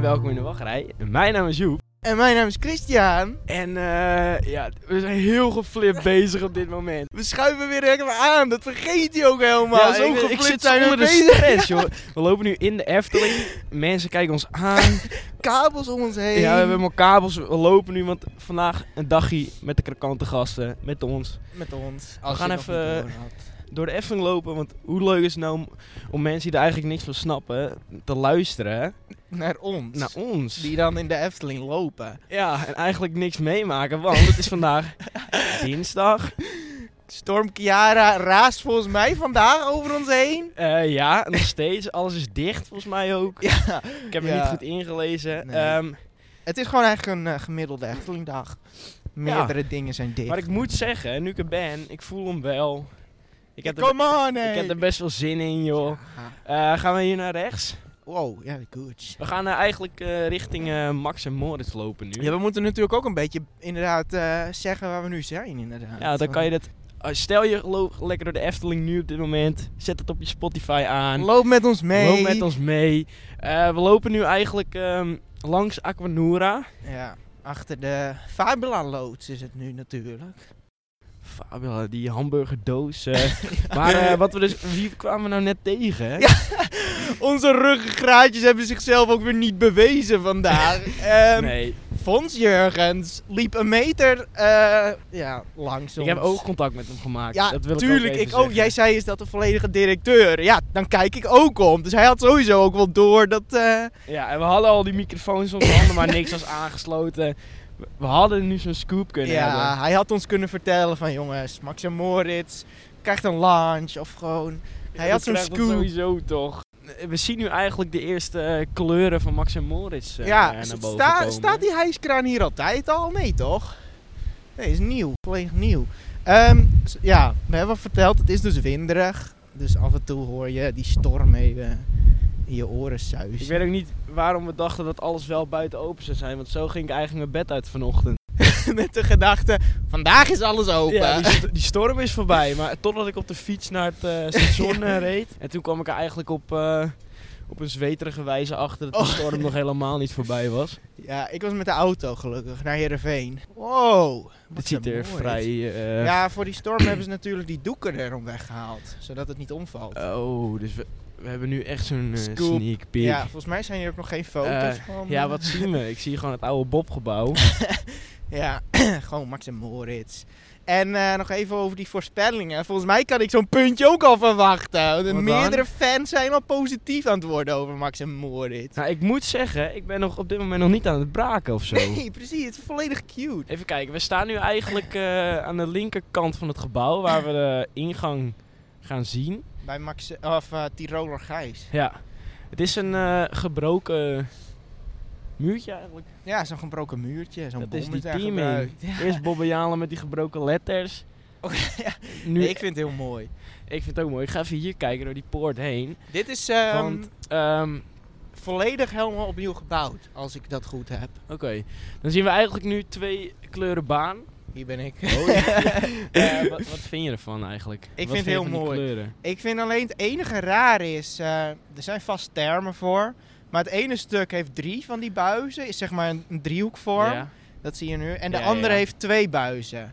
welkom in de wachtrij. Mijn naam is Joep. En mijn naam is Christian. En eh, ja, we zijn heel geflipt bezig op dit moment. We schuiven weer helemaal aan. Dat vergeet hij ook helemaal. ja, zo ik, ik geflipt zit zijn we onder de bezig. stress, joh. We lopen nu in de Efteling. Mensen kijken ons aan. Kabels om ons heen. Ja, we hebben allemaal kabels. We lopen nu, want vandaag een dagje met de krokante gasten, met ons. met ons. We gaan even- eh, Door de Efteling lopen, want hoe leuk is het nou om, om mensen die er eigenlijk niks van snappen, te luisteren Naar ons. naar ons. Die dan in de Efteling lopen. Ja, en eigenlijk niks meemaken, want het is vandaag dinsdag. Storm Kiara raast volgens mij vandaag over ons heen. Eh, ja, nog steeds. Alles is dicht, volgens mij ook. Ja. Ik heb ja. me niet goed ingelezen. Nee. Ehm, Het is gewoon eigenlijk een eh, gemiddelde Eftelingdag. Meerdere dingen zijn dicht. maar ik moet zeggen, nu ik er ben, ik voel hem wel. Ik heb, er, Come on, ik heb er best wel zin in, joh. Ja. Eh, gaan we hier naar rechts? Wow, ja, goed. We gaan eh, eigenlijk eh, richting eh, Max en Moritz lopen nu. Ja, we moeten natuurlijk ook een beetje inderdaad eh, zeggen waar we nu zijn, inderdaad. Ja, dan kan je dat... eh, Stel je loopt lekker door de Efteling nu op dit moment. Zet het op je Spotify aan. Loop met ons mee. Loop met ons mee. Eh, we lopen nu eigenlijk ehm, langs Aquanura. Ja, achter de Fabula loods is het nu natuurlijk. Fabiola, die hamburgerdoos. eh. Maar eh, wat we dus, wie kwamen we nou net tegen? hè? Onze ruggengraatjes hebben zichzelf ook weer niet bewezen vandaag. Ehm nee, Fons Jurgens liep een meter eh, ja, langs ik ons. heb oogcontact met hem gemaakt. dus Ja, dat wil ik ook, tuurlijk. even ik ook. zeggen. Jij zei is dat de volledige directeur. Ja, dan kijk ik ook om. Dus hij had sowieso ook wel door dat... eh, Ja, en we hadden al die microfoons onder handen, maar niks was aangesloten. We- We hadden nu zo'n scoop kunnen ja, hebben. hij had ons kunnen vertellen van jongens, Max en Moritz krijgt een lunch of gewoon... Hij Dat had zo'n krijgt dat scoop. sowieso toch. We zien nu eigenlijk de eerste eh, kleuren van Max en Moritz eh, ja, naar sta- boven komen. staat die hijskraan hier altijd al? Nee toch? Nee, is nieuw. Volledig nieuw. Ehm, s- ja, we hebben verteld, het is dus winderig. Dus af en toe hoor je die storm even in je oren suizen. Ik weet ook niet waarom we dachten dat alles wel buiten open zou zijn, want zo ging ik eigenlijk mijn bed uit vanochtend. met de gedachte, vandaag is alles open. Ja, die, st- die storm is voorbij, maar totdat ik op de fiets naar het eh, station eh, reed. En toen kwam ik er eigenlijk op, eh, op een zweterige wijze achter dat de Oh. storm nog helemaal niet voorbij was. Ja, ik was met de auto gelukkig naar Heerenveen. Wow. wat Het ziet een er mooi. vrij... eh, Ja, voor die storm hebben ze natuurlijk die doeken erom weggehaald, zodat het niet omvalt. Oh, dus we, we hebben nu echt zo'n eh, Scoop. sneak peek. ja, Ja. volgens mij zijn hier ook nog geen foto's Eh, van. wat zien we? Ik zie gewoon het oude Bobgebouw. Ja, gewoon Max en Moritz. En eh, nog even over die voorspellingen. Volgens mij kan ik zo'n puntje ook al verwachten. De dan? meerdere fans zijn al positief aan het worden over Max en Moritz. Nou, ik moet zeggen, ik ben nog op dit moment nog niet aan het braken of zo. Nee, precies. Het is volledig cute. Even kijken, we staan nu eigenlijk eh, aan de linkerkant van het gebouw waar we de ingang gaan zien. Bij Max, of eh, Tiroler Gijs. Ja, het is een eh, gebroken muurtje eigenlijk. Ja, zo'n gebroken muurtje. Zo'n Dat bom is die daar teaming. gebruikt. Ja. Eerst Bobbe Jalen met die gebroken letters. Oké, Nu, Oh, Nee, ik ik, vind het heel mooi. vind het ook mooi. Ik ga even hier kijken door die poort heen. Dit is ehm, Want, ehm, volledig helemaal opnieuw gebouwd, als ik dat goed heb. Oké, dan zien we eigenlijk nu twee kleuren baan. Hier ben ik. Oh, Eh, wat, wat vind je ervan eigenlijk? Wat vind je het heel van die mooi. kleuren? ik vind alleen het enige raar is, eh, er zijn vast termen voor. Maar het ene stuk heeft drie van die buizen, is zeg maar een, een driehoekvorm. Ja. Dat zie je nu. En de Ja, ja, andere ja. heeft twee buizen.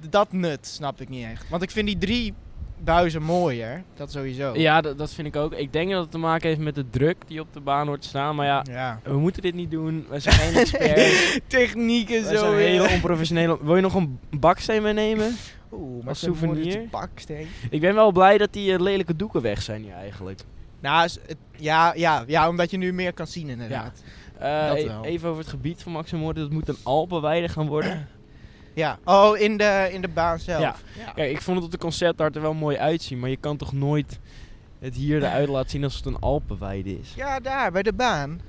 D- Dat nut snap ik niet echt. Want ik vind die drie buizen mooier. Dat sowieso. Ja, dat, dat vind ik ook. Ik denk dat het te maken heeft met de druk die op de baan wordt staan. Maar ja, Ja. we moeten dit niet doen. We zijn geen experts. Technieken we zijn hele onprofessioneel. Wil je nog een baksteen meenemen? Oeh, maar als zo'n souvenir. mooi baksteen. Ik ben wel blij dat die eh, lelijke doeken weg zijn hier eigenlijk. Nou, is het- ja, ja, ja, omdat je nu meer kan zien inderdaad. Eh, Dat e- wel. Even over het gebied van Max en Moorden. Dat moet een Alpenweide gaan worden. Ja. Oh, in de, in de baan zelf. Ja. Ja. Kijk, ik vond het op de conceptart er wel mooi uitzien. Maar je kan toch nooit het hier eruit laten zien als het een Alpenweide is. Ja, daar, bij de baan.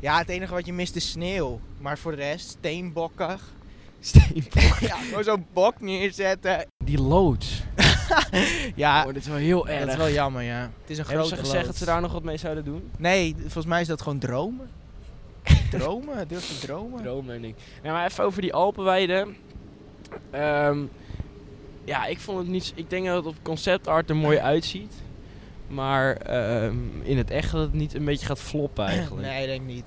Ja, het enige wat je mist is sneeuw. Maar voor de rest, steenbokkig. ja, gewoon zo'n bok neerzetten. Die loods. Ja, Oh, dit is wel heel erg. dat is wel jammer, ja. Het is een Hebben grote ze gezegd dat loods. ze daar nog wat mee zouden doen? Nee, volgens mij is dat gewoon dromen. dromen? Durf te dromen? Droom en ik. Nou, maar even over die Alpenweide. Ehm, ja, ik vond het niet. Ik denk dat het op concept art er mooi uitziet. Maar ehm, in het echt dat het niet een beetje gaat floppen eigenlijk. nee, ik denk niet.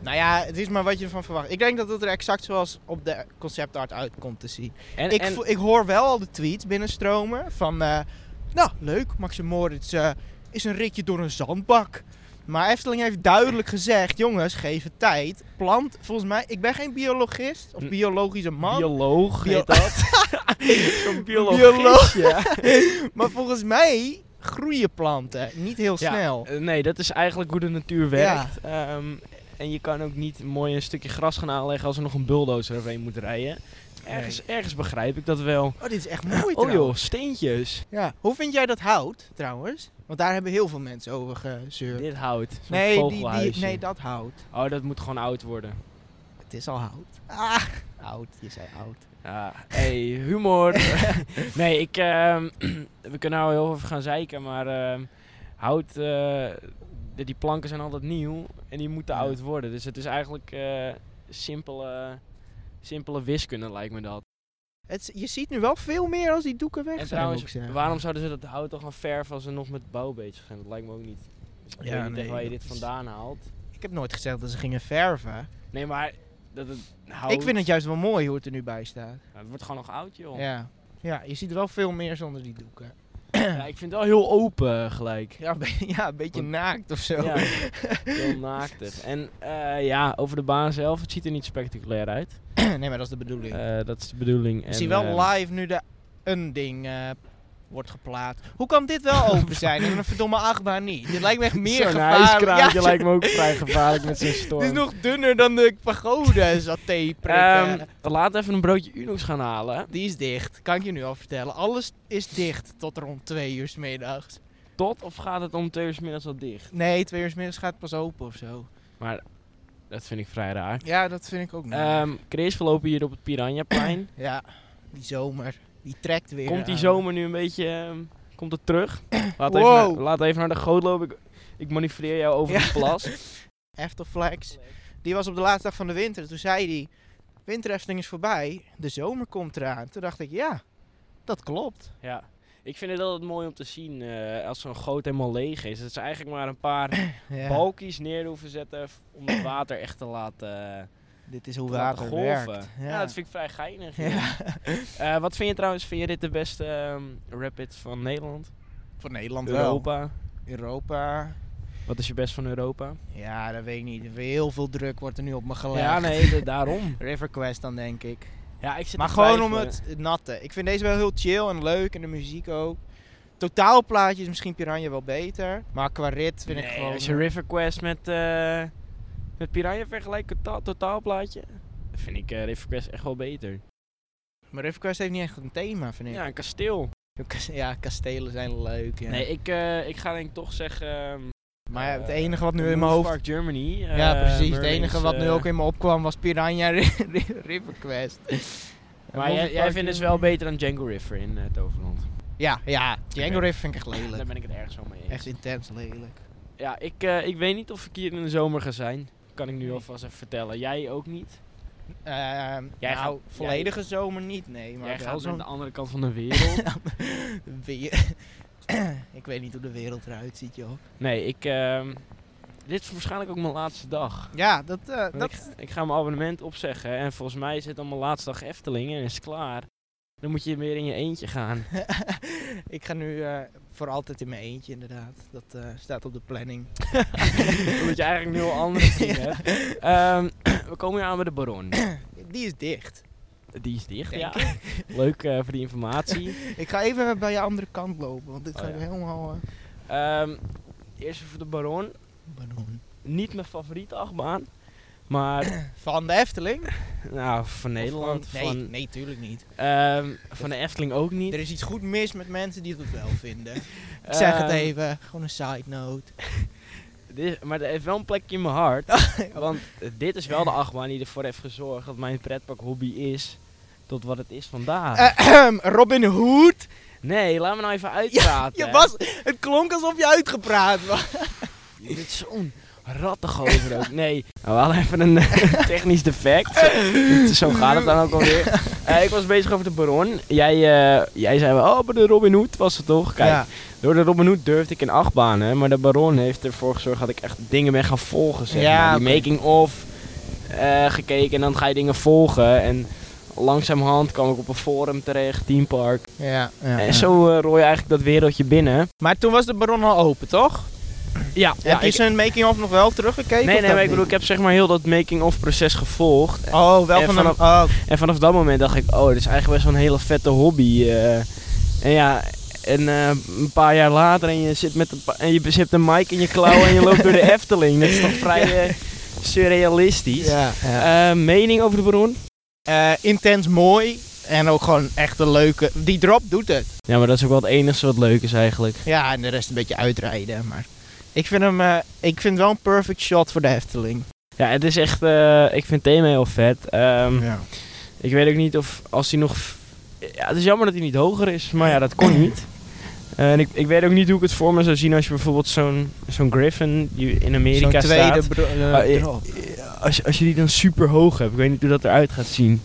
Nou ja, het is maar wat je ervan verwacht. Ik denk dat het er exact zoals op de conceptart uitkomt te zien. En, ik, en- vo- ik hoor wel al de tweets binnenstromen van... eh, nou, leuk, Maxim Moritz eh, is een ritje door een zandbak. Maar Efteling heeft duidelijk gezegd... Jongens, geef het tijd. Plant, volgens mij... Ik ben geen biologist of Hm. biologische man. bioloog Bio- heet dat. Zo'n Bioloog. bioloogistje. maar volgens mij groeien planten niet heel Ja. snel. Eh, Nee, dat is eigenlijk hoe de natuur werkt. Ehm, en je kan ook niet mooi een stukje gras gaan aanleggen als er nog een bulldozer overheen moet rijden. Ergens, ergens begrijp ik dat wel. Oh, dit is echt mooi Oh trouwens. joh, steentjes. Ja. Hoe vind jij dat hout, trouwens? Want daar hebben heel veel mensen over gezeurd. Dit hout. Zo'n Nee, die, vogelhuisje. die, nee, dat hout. Oh, dat moet gewoon oud worden. Het is al hout. Ah, oud. Je zei oud. Ja, hey, humor. nee, ik, ehm, we kunnen nou heel veel over gaan zeiken, maar ehm, hout, eh, de- die planken zijn altijd nieuw en die moeten Ja. oud worden. Dus het is eigenlijk eh, simpele, simpele wiskunde lijkt me dat. Het, is- je ziet nu wel veel meer als die doeken weg En zijn. moet ik trouwens, zeggen. waarom zouden ze dat hout toch gaan verven als ze nog met bouw bezig zijn? Dat lijkt me ook niet. Dus ik Ja, weet niet nee, echt waar je dat dit is- vandaan haalt. Ik heb nooit gezegd dat ze gingen verven. Nee, maar dat het hout... Ik vind het juist wel mooi hoe het er nu bij staat. Ja, Het wordt gewoon nog oud, joh. Ja. Ja. ja, je ziet wel veel meer zonder die doeken. ik vind het wel heel open eh, gelijk. Ja, een be- ja, een beetje Want- naakt of zo. Ja, heel naaktig. En eh, ja, over de baan zelf, het ziet er niet spectaculair uit. nee, maar dat is de bedoeling. Eh, dat is de bedoeling. Ik en, zie wel eh, live nu de een ding eh, wordt geplaatst. Hoe kan dit wel open zijn en een verdomme achtbaan niet? Dit lijkt me echt meer Zo'n gevaarlijk. hijskraantje Ja, lijkt me ook vrij gevaarlijk met zijn het storm. is nog dunner dan de pagode saté Ehm, laten we even een broodje Unox gaan halen. Die is dicht, kan ik je nu al vertellen. Alles is dicht tot rond twee uur 's middags. Tot of gaat het om twee uur 's middags al dicht? Nee, twee uur 's middags gaat het pas open of zo. Maar dat vind ik vrij raar. Ja, dat vind ik ook niet. Ehm, Chris, we lopen hier op het Piranhaplein. ja, die zomer, die trekt weer komt die aan. zomer nu een beetje... ehm, komt het terug? Laat, even Wow. naar, laat even naar de goot lopen. Ik, ik manoeuvreer jou over Ja. de plas. Eftelflex. Die was op de laatste dag van de winter. Toen zei hij, winterhefting is voorbij, de zomer komt eraan. Toen dacht ik, ja, dat klopt. Ja, ik vind het altijd mooi om te zien eh, als zo'n goot helemaal leeg is. Dat ze eigenlijk maar een paar Ja, balkjes neer hoeven zetten f- om het water echt te laten, dit is hoe te laten water golven. werkt. Ja. dat vind ik vrij geinig. Ja. ja. Eh, wat vind je trouwens, vind je dit de beste ehm rapid van Nederland? Voor Nederland wel. Europa? Europa. Wat is je best van Europa? Ja, dat weet ik niet. Heel veel druk wordt er nu op me gelegd. Ja, nee, de- daarom. Riverquest dan, denk ik. Ja, ik zit Maar te gewoon om twijfelen. het het natte. Ik vind deze wel heel chill en leuk en de muziek ook. Totaalplaatje is misschien Piranha wel beter. Maar qua rit vind ik Nee, gewoon... Als je River Quest met, eh met Piranha vergelijkt, totaal, totaalplaatje, vind ik eh River Quest echt wel beter. Maar Riverquest heeft niet echt een thema, vind ik. Ja, een kasteel. Ja, kastelen zijn leuk. Ja. Nee, ik, eh, ik ga denk ik toch zeggen... ehm, Maar ja, het eh, enige wat nu Moose in mijn hoofd. Park Germany. ja, eh, precies. Het Merlin's, enige wat nu eh, ook in me opkwam was Piranha Ri- Ri- River Quest. Maar jij, jij vindt dus wel beter dan Django River in eh, Toverland. Ja, ja. Django Oké. River vind ik echt Daar lelijk. ben ik het ergens wel mee eens. Echt intens lelijk. Ja, ik, eh, ik weet niet of ik hier in de zomer ga zijn. Kan ik nu alvast even vertellen. Jij ook niet. Ehm, Jij nou, gaat- volledige zomer niet, nee. Maar jij wel gaat naar zo'n de andere kant van de wereld. weer. ik weet niet hoe de wereld eruit ziet, joh. nee, ik... ehm, dit is waarschijnlijk ook mijn laatste dag. Ja, dat, eh, Want dat Ik, ik ga mijn abonnement opzeggen. En volgens mij zit dan mijn laatste dag Efteling en is het klaar. Dan moet je weer in je eentje gaan. ik ga nu eh, voor altijd in mijn eentje, inderdaad. Dat eh, staat op de planning. Omdat je eigenlijk nu al andere dingen hebt. Ehm, we komen hier aan bij de Baron. Die is dicht. Die is dicht, Denk ja. Leuk eh, voor die informatie. Ik ga even bij je andere kant lopen, want dit Oh, gaat ja. helemaal... eh, Ehm, eerst even de Baron. bananen. Niet mijn favoriete achtbaan. Maar, Van de Efteling? nou, van Nederland. Of van- Van, Nee, nee, tuurlijk niet. ehm, van de Efteling ook niet. Er is iets goed mis met mensen die het wel vinden. Ik zeg het Ehm, even, gewoon een side note. dit- maar er heeft wel een plekje in mijn hart. Oh, want dit is wel de achtbaan die ervoor heeft gezorgd dat mijn pretpark hobby is. Tot wat het is Eh. vandaag. Ahem, ehm, Robin Hood. nee, laat me nou even uitpraten. Je was, het klonk alsof je uitgepraat was. Je bent zo'n rattig over ook. Nee, nou, we hadden even een eh, technisch defect. Zo gaat het dan ook alweer. Eh, ik was bezig over de Baron. Jij, eh, jij zei wel, oh, maar de Robin Hood was het toch? Kijk, Ja. door de Robin Hood durfde ik in acht banen. Maar de Baron heeft ervoor gezorgd dat ik echt dingen ben gaan volgen. Zeg Ja, maar. Die oké. making of, eh, gekeken en dan ga je dingen volgen. En langzamerhand kwam ik op een forum terecht, Team Park. Ja, ja, ja. En zo eh, rooi je eigenlijk dat wereldje binnen. Maar toen was de baron al open, toch? Ja, Heb je ik- zijn making-of nog wel teruggekeken? Nee, of nee, dat maar ik niet? bedoel, ik heb zeg maar heel dat making-of proces gevolgd. Oh, wel en van vanaf- een... Oh, En vanaf dat moment dacht ik, oh, dit is eigenlijk best wel een hele vette hobby. eh. en ja, en eh, een paar jaar later en je zit met een, pa- en je hebt een mic in je klauw en je loopt door de Efteling. Dat is toch vrij eh, surrealistisch. ja, ja. Eh, mening over de baron? Eh, intens mooi. En ook gewoon echt een leuke... Die drop doet het. Ja, maar dat is ook wel het enige wat leuk is eigenlijk. Ja, en de rest een beetje uitrijden. Maar ik vind hem... eh, ik vind wel een perfect shot voor de Hefteling. Ja, het is echt, eh, ik vind het thema heel vet. Ehm, Ja. Ik weet ook niet of als hij nog. Ja, het is jammer dat hij niet hoger is, maar ja, dat kon niet. En ik, ik weet ook niet hoe ik het voor me zou zien als je bijvoorbeeld zo'n zo'n Griffin die in Amerika Zo'n tweede staat. bro- eh, Ah, eh, drop. Als, je- als je die dan super hoog hebt, ik weet niet hoe dat eruit gaat zien.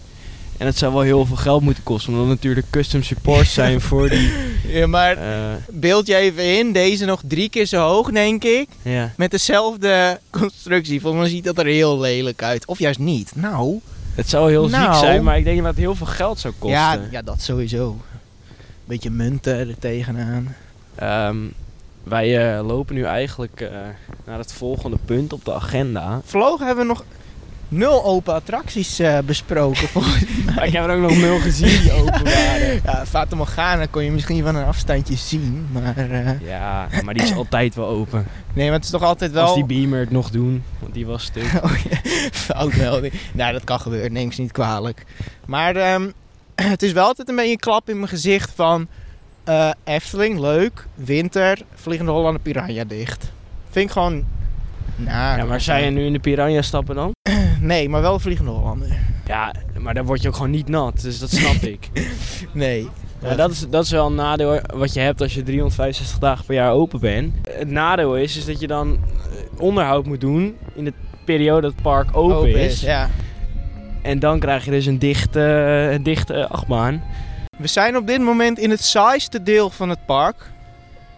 En het zou wel heel veel geld moeten kosten, omdat het natuurlijk custom supports zijn voor die. Ja, maar eh, beeld je even in. Deze nog drie keer zo hoog, denk ik. ja. Met dezelfde constructie. Volgens mij ziet dat er heel lelijk uit. Of juist niet. Nou... Het zou heel ziek Nou. zijn, maar ik denk dat het heel veel geld zou kosten. Ja, ja, dat sowieso. Beetje munten er tegenaan. Ehm, wij eh, lopen nu eigenlijk eh, naar het volgende punt op de agenda. Vlogen hebben we nog nul open attracties eh, besproken. volgens Maar ik heb er ook nog nul gezien die open waren. mij. ja, Fata Morgana kon je misschien van een afstandje zien. Maar eh, Ja, maar die is altijd wel open. nee, maar het is toch altijd wel... Als die Beamer het nog doen, want die was stuk. Oh, ja, Foutmelding. nou, dat kan gebeuren. Neem ze niet kwalijk. Maar ehm, het is wel altijd een beetje een klap in mijn gezicht van... eh, Efteling, leuk. Winter, Vliegende Hollander Piranha dicht. Vind ik gewoon... Nou, Ja, maar zij nu in de piranha stappen dan? Nee, maar wel Vliegende Hollander. Ja, maar dan word je ook gewoon niet nat, dus dat snap ik. Nee. Maar dat is, dat is wel een nadeel wat je hebt als je 365 dagen per jaar open bent. Het nadeel is, is dat je dan eh, onderhoud moet doen in de periode dat het park open, is. Ja. En dan krijg je dus een dichte, een dichte achtbaan. We zijn op dit moment in het saaiste deel van het park.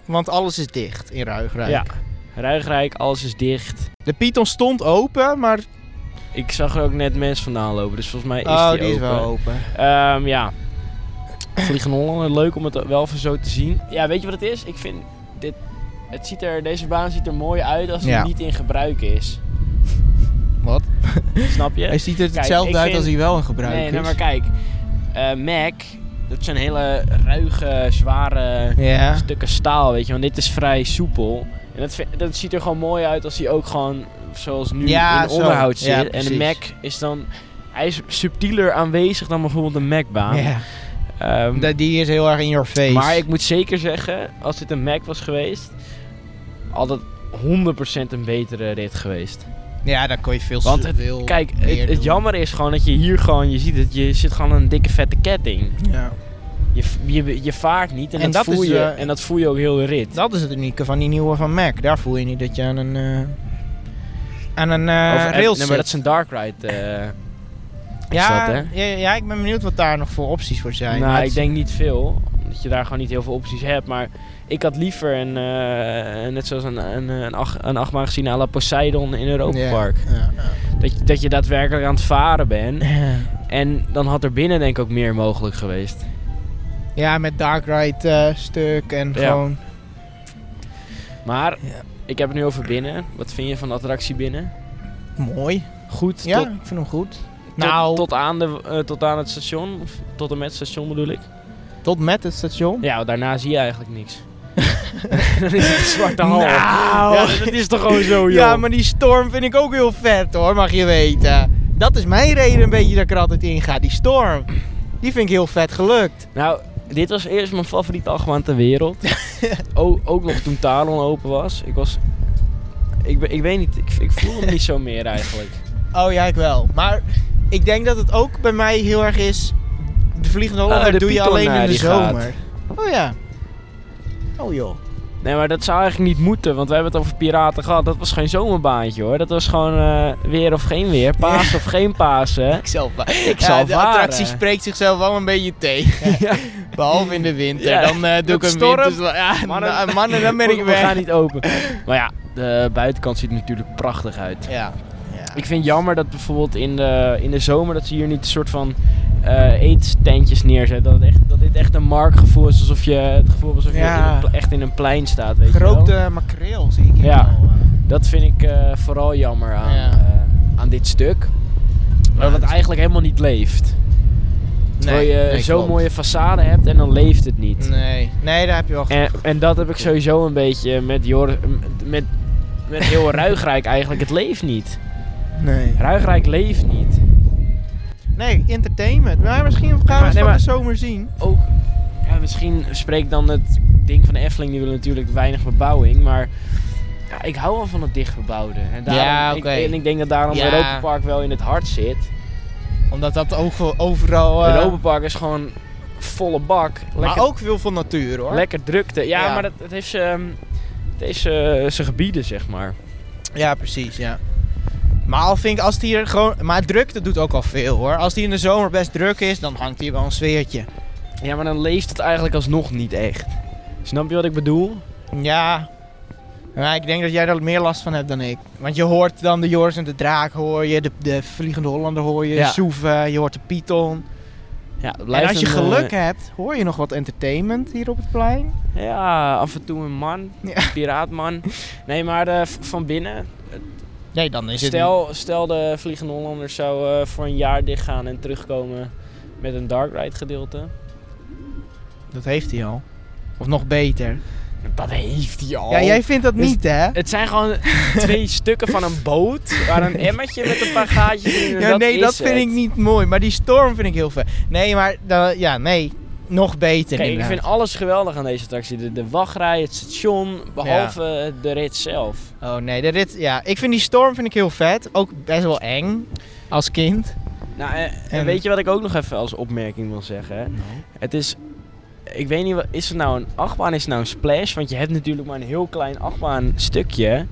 Want alles is dicht in Ruigrijk. Ja. Ruigrijk, alles is dicht. De Python stond open, maar Ik zag er ook net mensen vandaan lopen, dus volgens mij is oh, die, die is open. wel open. Ehm, ja. Vliegen Hollander, leuk om het wel even zo te zien. Ja, weet je wat het is? Ik vind dit. Het ziet er, deze baan ziet er mooi uit als die Ja. niet in gebruik is. Wat? Snap je? Hij ziet er Kijk, hetzelfde ik uit vind- als hij wel in gebruik dus. nee, nee, is. maar kijk. eh, Mac, dat zijn hele ruige, zware Ja. stukken staal, weet je. Want dit is vrij soepel. En dat, vind- dat ziet er gewoon mooi uit als die ook gewoon zoals nu Ja, in zo. onderhoud Ja, zit. en de Mac precies. is dan... Hij is subtieler aanwezig dan bijvoorbeeld een Mac-baan. Ja. Ehm, Dat- Die is heel erg in your face. Maar ik moet zeker zeggen, als dit een Mac was geweest, had het 100% een betere rit geweest. Ja, dan kon je veel Want s- het- veel Kijk, meer het, het doen. jammer is gewoon dat je hier gewoon, je ziet het, je zit gewoon aan een dikke vette ketting. Ja. Je, v- je, je vaart niet en, En dat dat voel is, je, eh, en dat voel je ook heel de rit. Dat is het unieke van die nieuwe van Mac. Daar voel je niet dat je aan een... eh aan een eh Of- en- rail nee, zit. maar dat is een dark ride. eh, is ja, dat, hè? ja, ja, ik ben benieuwd wat daar nog voor opties voor zijn. Maar Nou, het- ik denk niet veel. Omdat je daar gewoon niet heel veel opties hebt. Maar ik had liever een, eh, net zoals een, een, een, acht, een achtbaan gezien à la Poseidon in Europa Ja, Park. ja, ja. Dat, je- dat je daadwerkelijk aan het varen bent. En dan had er binnen denk ik ook meer mogelijk geweest. Ja, met Dark Ride eh, stuk en Ja. gewoon. Maar Ja. ik heb het nu over binnen. Wat vind je van de attractie binnen? Mooi. Goed Ja, tot, ik vind hem goed. tot, nou, tot, tot, aan de, eh, tot aan het station. Of tot en met het station bedoel ik. met het station. Ja, want daarna zie je eigenlijk niks. dan is het een zwarte hal. Nou. Ja, dat is toch gewoon zo, joh. ja, maar die storm vind ik ook heel vet hoor, mag je weten. Dat is mijn reden een beetje dat ik er altijd in ga, die storm. Die vind ik heel vet gelukt. Nou, dit was eerst mijn favoriete achtbaan ter wereld. O- ook nog toen Taron open was. Ik was... Ik, be- ik weet niet, ik, ik voel hem niet zo meer eigenlijk. Oh ja, ik wel. Maar ik denk dat het ook bij mij heel erg is. De Vliegende Hollander de doe je Python, alleen eh, in de die gaat. zomer. Oh ja. Oh joh. Nee, maar dat zou eigenlijk niet moeten, want we hebben het over piraten gehad. Dat was geen zomerbaantje hoor. Dat was gewoon eh, weer of geen weer, paas of geen Pasen. Ik zal, va- Ik Ja, zal de varen. attractie spreekt zichzelf wel een beetje tegen. Ja. Behalve in de winter. Ja, Dan eh, doe ik met een storm. wintersla- Ja, Mannen- mannen, mannen, dan ben ik We gaan weg. niet open. Maar ja, de buitenkant ziet er natuurlijk prachtig uit. Ja. ja. Ik vind het jammer dat bijvoorbeeld in de, in de zomer dat ze hier niet een soort van eh eetstentjes neerzetten. Dat, het echt, dat dit echt een marktgevoel is, alsof je het gevoel hebt alsof je Ja. in een pla- echt in een plein staat. Weet je wel. Gerookte eh, makreel zie ik hier Ja. al. eh. Dat vind ik eh, vooral jammer aan, Ja. eh, aan dit stuk. Ja, Dat het dat is- eigenlijk helemaal niet leeft. Terwijl je nee, zo'n klopt. mooie façade hebt en dan leeft het niet. Nee, nee, daar heb je wel En, en dat heb ik sowieso een beetje met Jor... Met, met heel Ruigrijk eigenlijk. Het leeft niet. Eh. Nee. Ruigrijk leeft niet. Nee, entertainment. Maar misschien gaan we Maar- nee, het van maar- de zomer zien. Ook... Ja, misschien spreekt dan het ding van de Efteling. Die willen natuurlijk weinig bebouwing. Maar ja, ik hou wel van het dichtbebouwde. En daarom, Ja, ik- oké. en ik denk dat daarom Ja. Europa Park wel in het hart zit. Omdat dat over, overal... eh, Europa Park is gewoon volle bak. maar Lekker ook veel van natuur hoor. Lekker drukte. Ja, Ja. maar dat, het heeft ehm, zijn eh, gebieden, zeg maar. Ja, precies, ja. Maar al vind ik als het hier gewoon... Maar drukte doet ook al veel hoor. Als het hier in de zomer best druk is, dan hangt hier wel een sfeertje. Ja, maar dan leeft het eigenlijk alsnog niet echt. Snap je wat ik bedoel? Ja. Maar ik denk dat jij daar meer last van hebt dan ik. Want je hoort dan de Joris en de Draak hoor je, de, de Vliegende Hollander hoor je, Ja. Soeven, je hoort de Python. Ja, het En blijft als je een, geluk eh, hebt, hoor je nog wat entertainment hier op het plein. ja, af en toe een man. Ja. Piraatman. Nee, maar eh, v- van binnen. Nee, dan is Stel, stel de Vliegende Hollanders zou eh, voor een jaar dichtgaan en terugkomen met een dark ride gedeelte. Dat heeft hij al. Of nog beter. Dat heeft hij al. Ja, jij vindt dat Dus- niet, hè? Het zijn gewoon twee stukken van een boot waar een emmertje met een paar gaatjes in. en Ja, nee, is dat vind het. ik niet mooi. Maar die storm vind ik heel vet. Nee, maar dan- ja, nee. Nog beter. Kijk, ik inderdaad. vind alles geweldig aan deze attractie. De, de wachtrij, het station, behalve eh, de rit zelf. Oh nee, de rit, ja. ik vind die storm vind ik heel vet. Ook best wel eng. Als kind. Nou, eh, en, En- weet je wat ik ook nog even als opmerking wil zeggen? Het is, ik weet niet, wat- is het nou een achtbaan, is het nou een splash? Want je hebt natuurlijk maar een heel klein achtbaanstukje,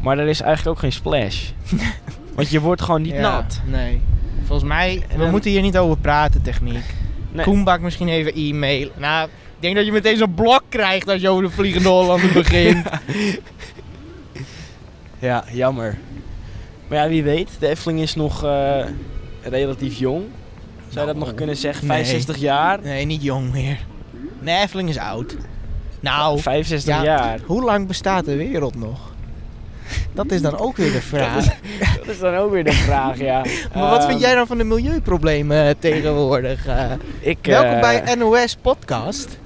maar er is eigenlijk ook geen splash. Want je wordt gewoon niet Ja, nat. Nee. Volgens mij, we dan- moeten hier niet over praten, techniek. Nee. Koenbak misschien even e-mail. Nou, ik denk dat je meteen zo'n blok krijgt als je over de Vliegende Hollander begint. Ja, jammer. Maar ja, wie weet, de Efteling is nog eh, relatief jong. Zou je dat Nou, nog kunnen zeggen? nee. 65 jaar? Nee, niet jong meer. Nee, Efteling is oud. Nou, 65 Ja. jaar. hoe lang bestaat de wereld nog? Dat is dan ook weer de vraag. Dat is dan ook weer de vraag, ja. Maar wat Ehm, vind jij dan van de milieuproblemen eh, tegenwoordig? eh? Ik, welkom eh, bij NOS Podcast.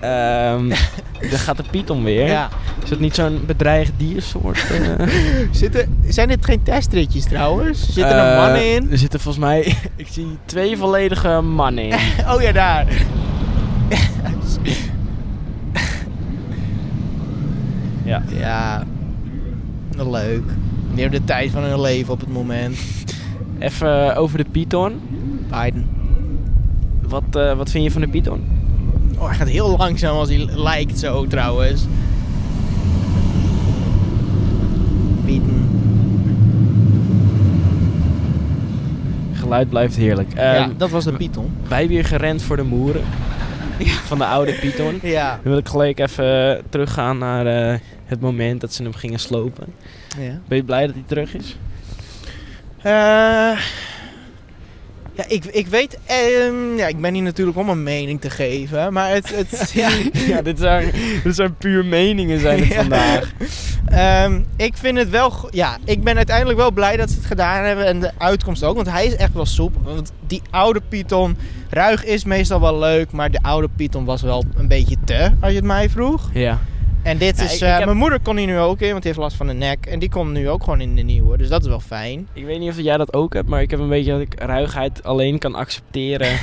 ehm, daar gaat de Piet om weer. Ja. Is dat niet zo'n bedreigd diersoort? Zitten, zijn dit geen testritjes trouwens? Zit er Eh, een man in? Er zitten volgens mij... ik zie twee volledige mannen in. Oh ja, daar. Ja. Ja, leuk. Die hebben de tijd van hun leven op het moment. Even eh, over de Python. Biden. Wat, eh, wat vind je van de Python? Oh, hij gaat heel langzaam als hij lijkt zo trouwens. Bieden. Geluid blijft heerlijk. ja, Ehm, dat was de Python. Wij hebben hier gerend voor de moeren. Van de oude Python. Ja. Dan wil ik gelijk even teruggaan naar eh, het moment dat ze hem gingen slopen. ja. Ben je blij dat hij terug is? Eh, ja, ik, ik weet. ehm, ja, ik ben hier natuurlijk om een mening te geven. Maar het. het ja, Ja, dit zijn, dit zijn puur meningen zijn het Ja. vandaag. Ehm, ik vind het wel. go- Ja, ik ben uiteindelijk wel blij dat ze het gedaan hebben. En de uitkomst ook. Want hij is echt wel soepel. Want die oude Python. Ruig is meestal wel leuk. Maar de oude Python was wel een beetje te. Als je het mij vroeg. Ja. En dit Ja, is. ik- eh, ik heb- Mijn moeder kon hier nu ook in. Want die heeft last van de nek. En die komt nu ook gewoon in de nieuwe. Dus dat is wel fijn. Ik weet niet of jij dat ook hebt, maar ik heb een beetje dat ik ruigheid alleen kan accepteren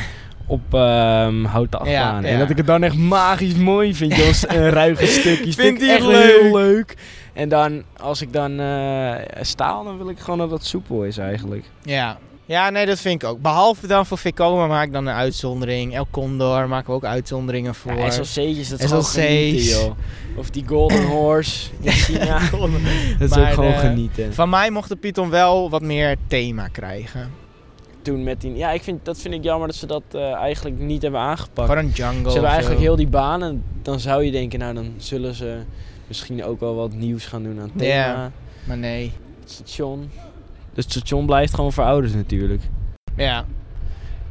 op ehm houten Ja, achtbanen. En ja. dat ik het dan echt magisch mooi vind, joh, als een ruige stukje. Vindt ik hij echt het leuk? heel leuk. En dan, als ik dan eh, staal, dan wil ik gewoon dat dat soepel is eigenlijk. Ja. Ja, nee, dat vind ik ook. Behalve dan voor Vicoma maak ik dan een uitzondering. El Condor maken we ook uitzonderingen voor. Ja, SLC'tjes, dat is gewoon SLC's. genieten, joh. Of die Golden Horse in China. dat is ook Maar, gewoon eh, genieten. Van mij mocht de Python wel wat meer thema krijgen. Toen met die... Ja, ik vind, dat vind ik jammer dat ze dat eh, eigenlijk niet hebben aangepakt. Gewoon een jungle. Ze hebben of eigenlijk zo. heel die banen. Dan zou je denken, nou dan zullen ze misschien ook wel wat nieuws gaan doen aan het thema. Ja. Maar nee. Het station. Dus het station blijft gewoon voor ouders natuurlijk. Ja.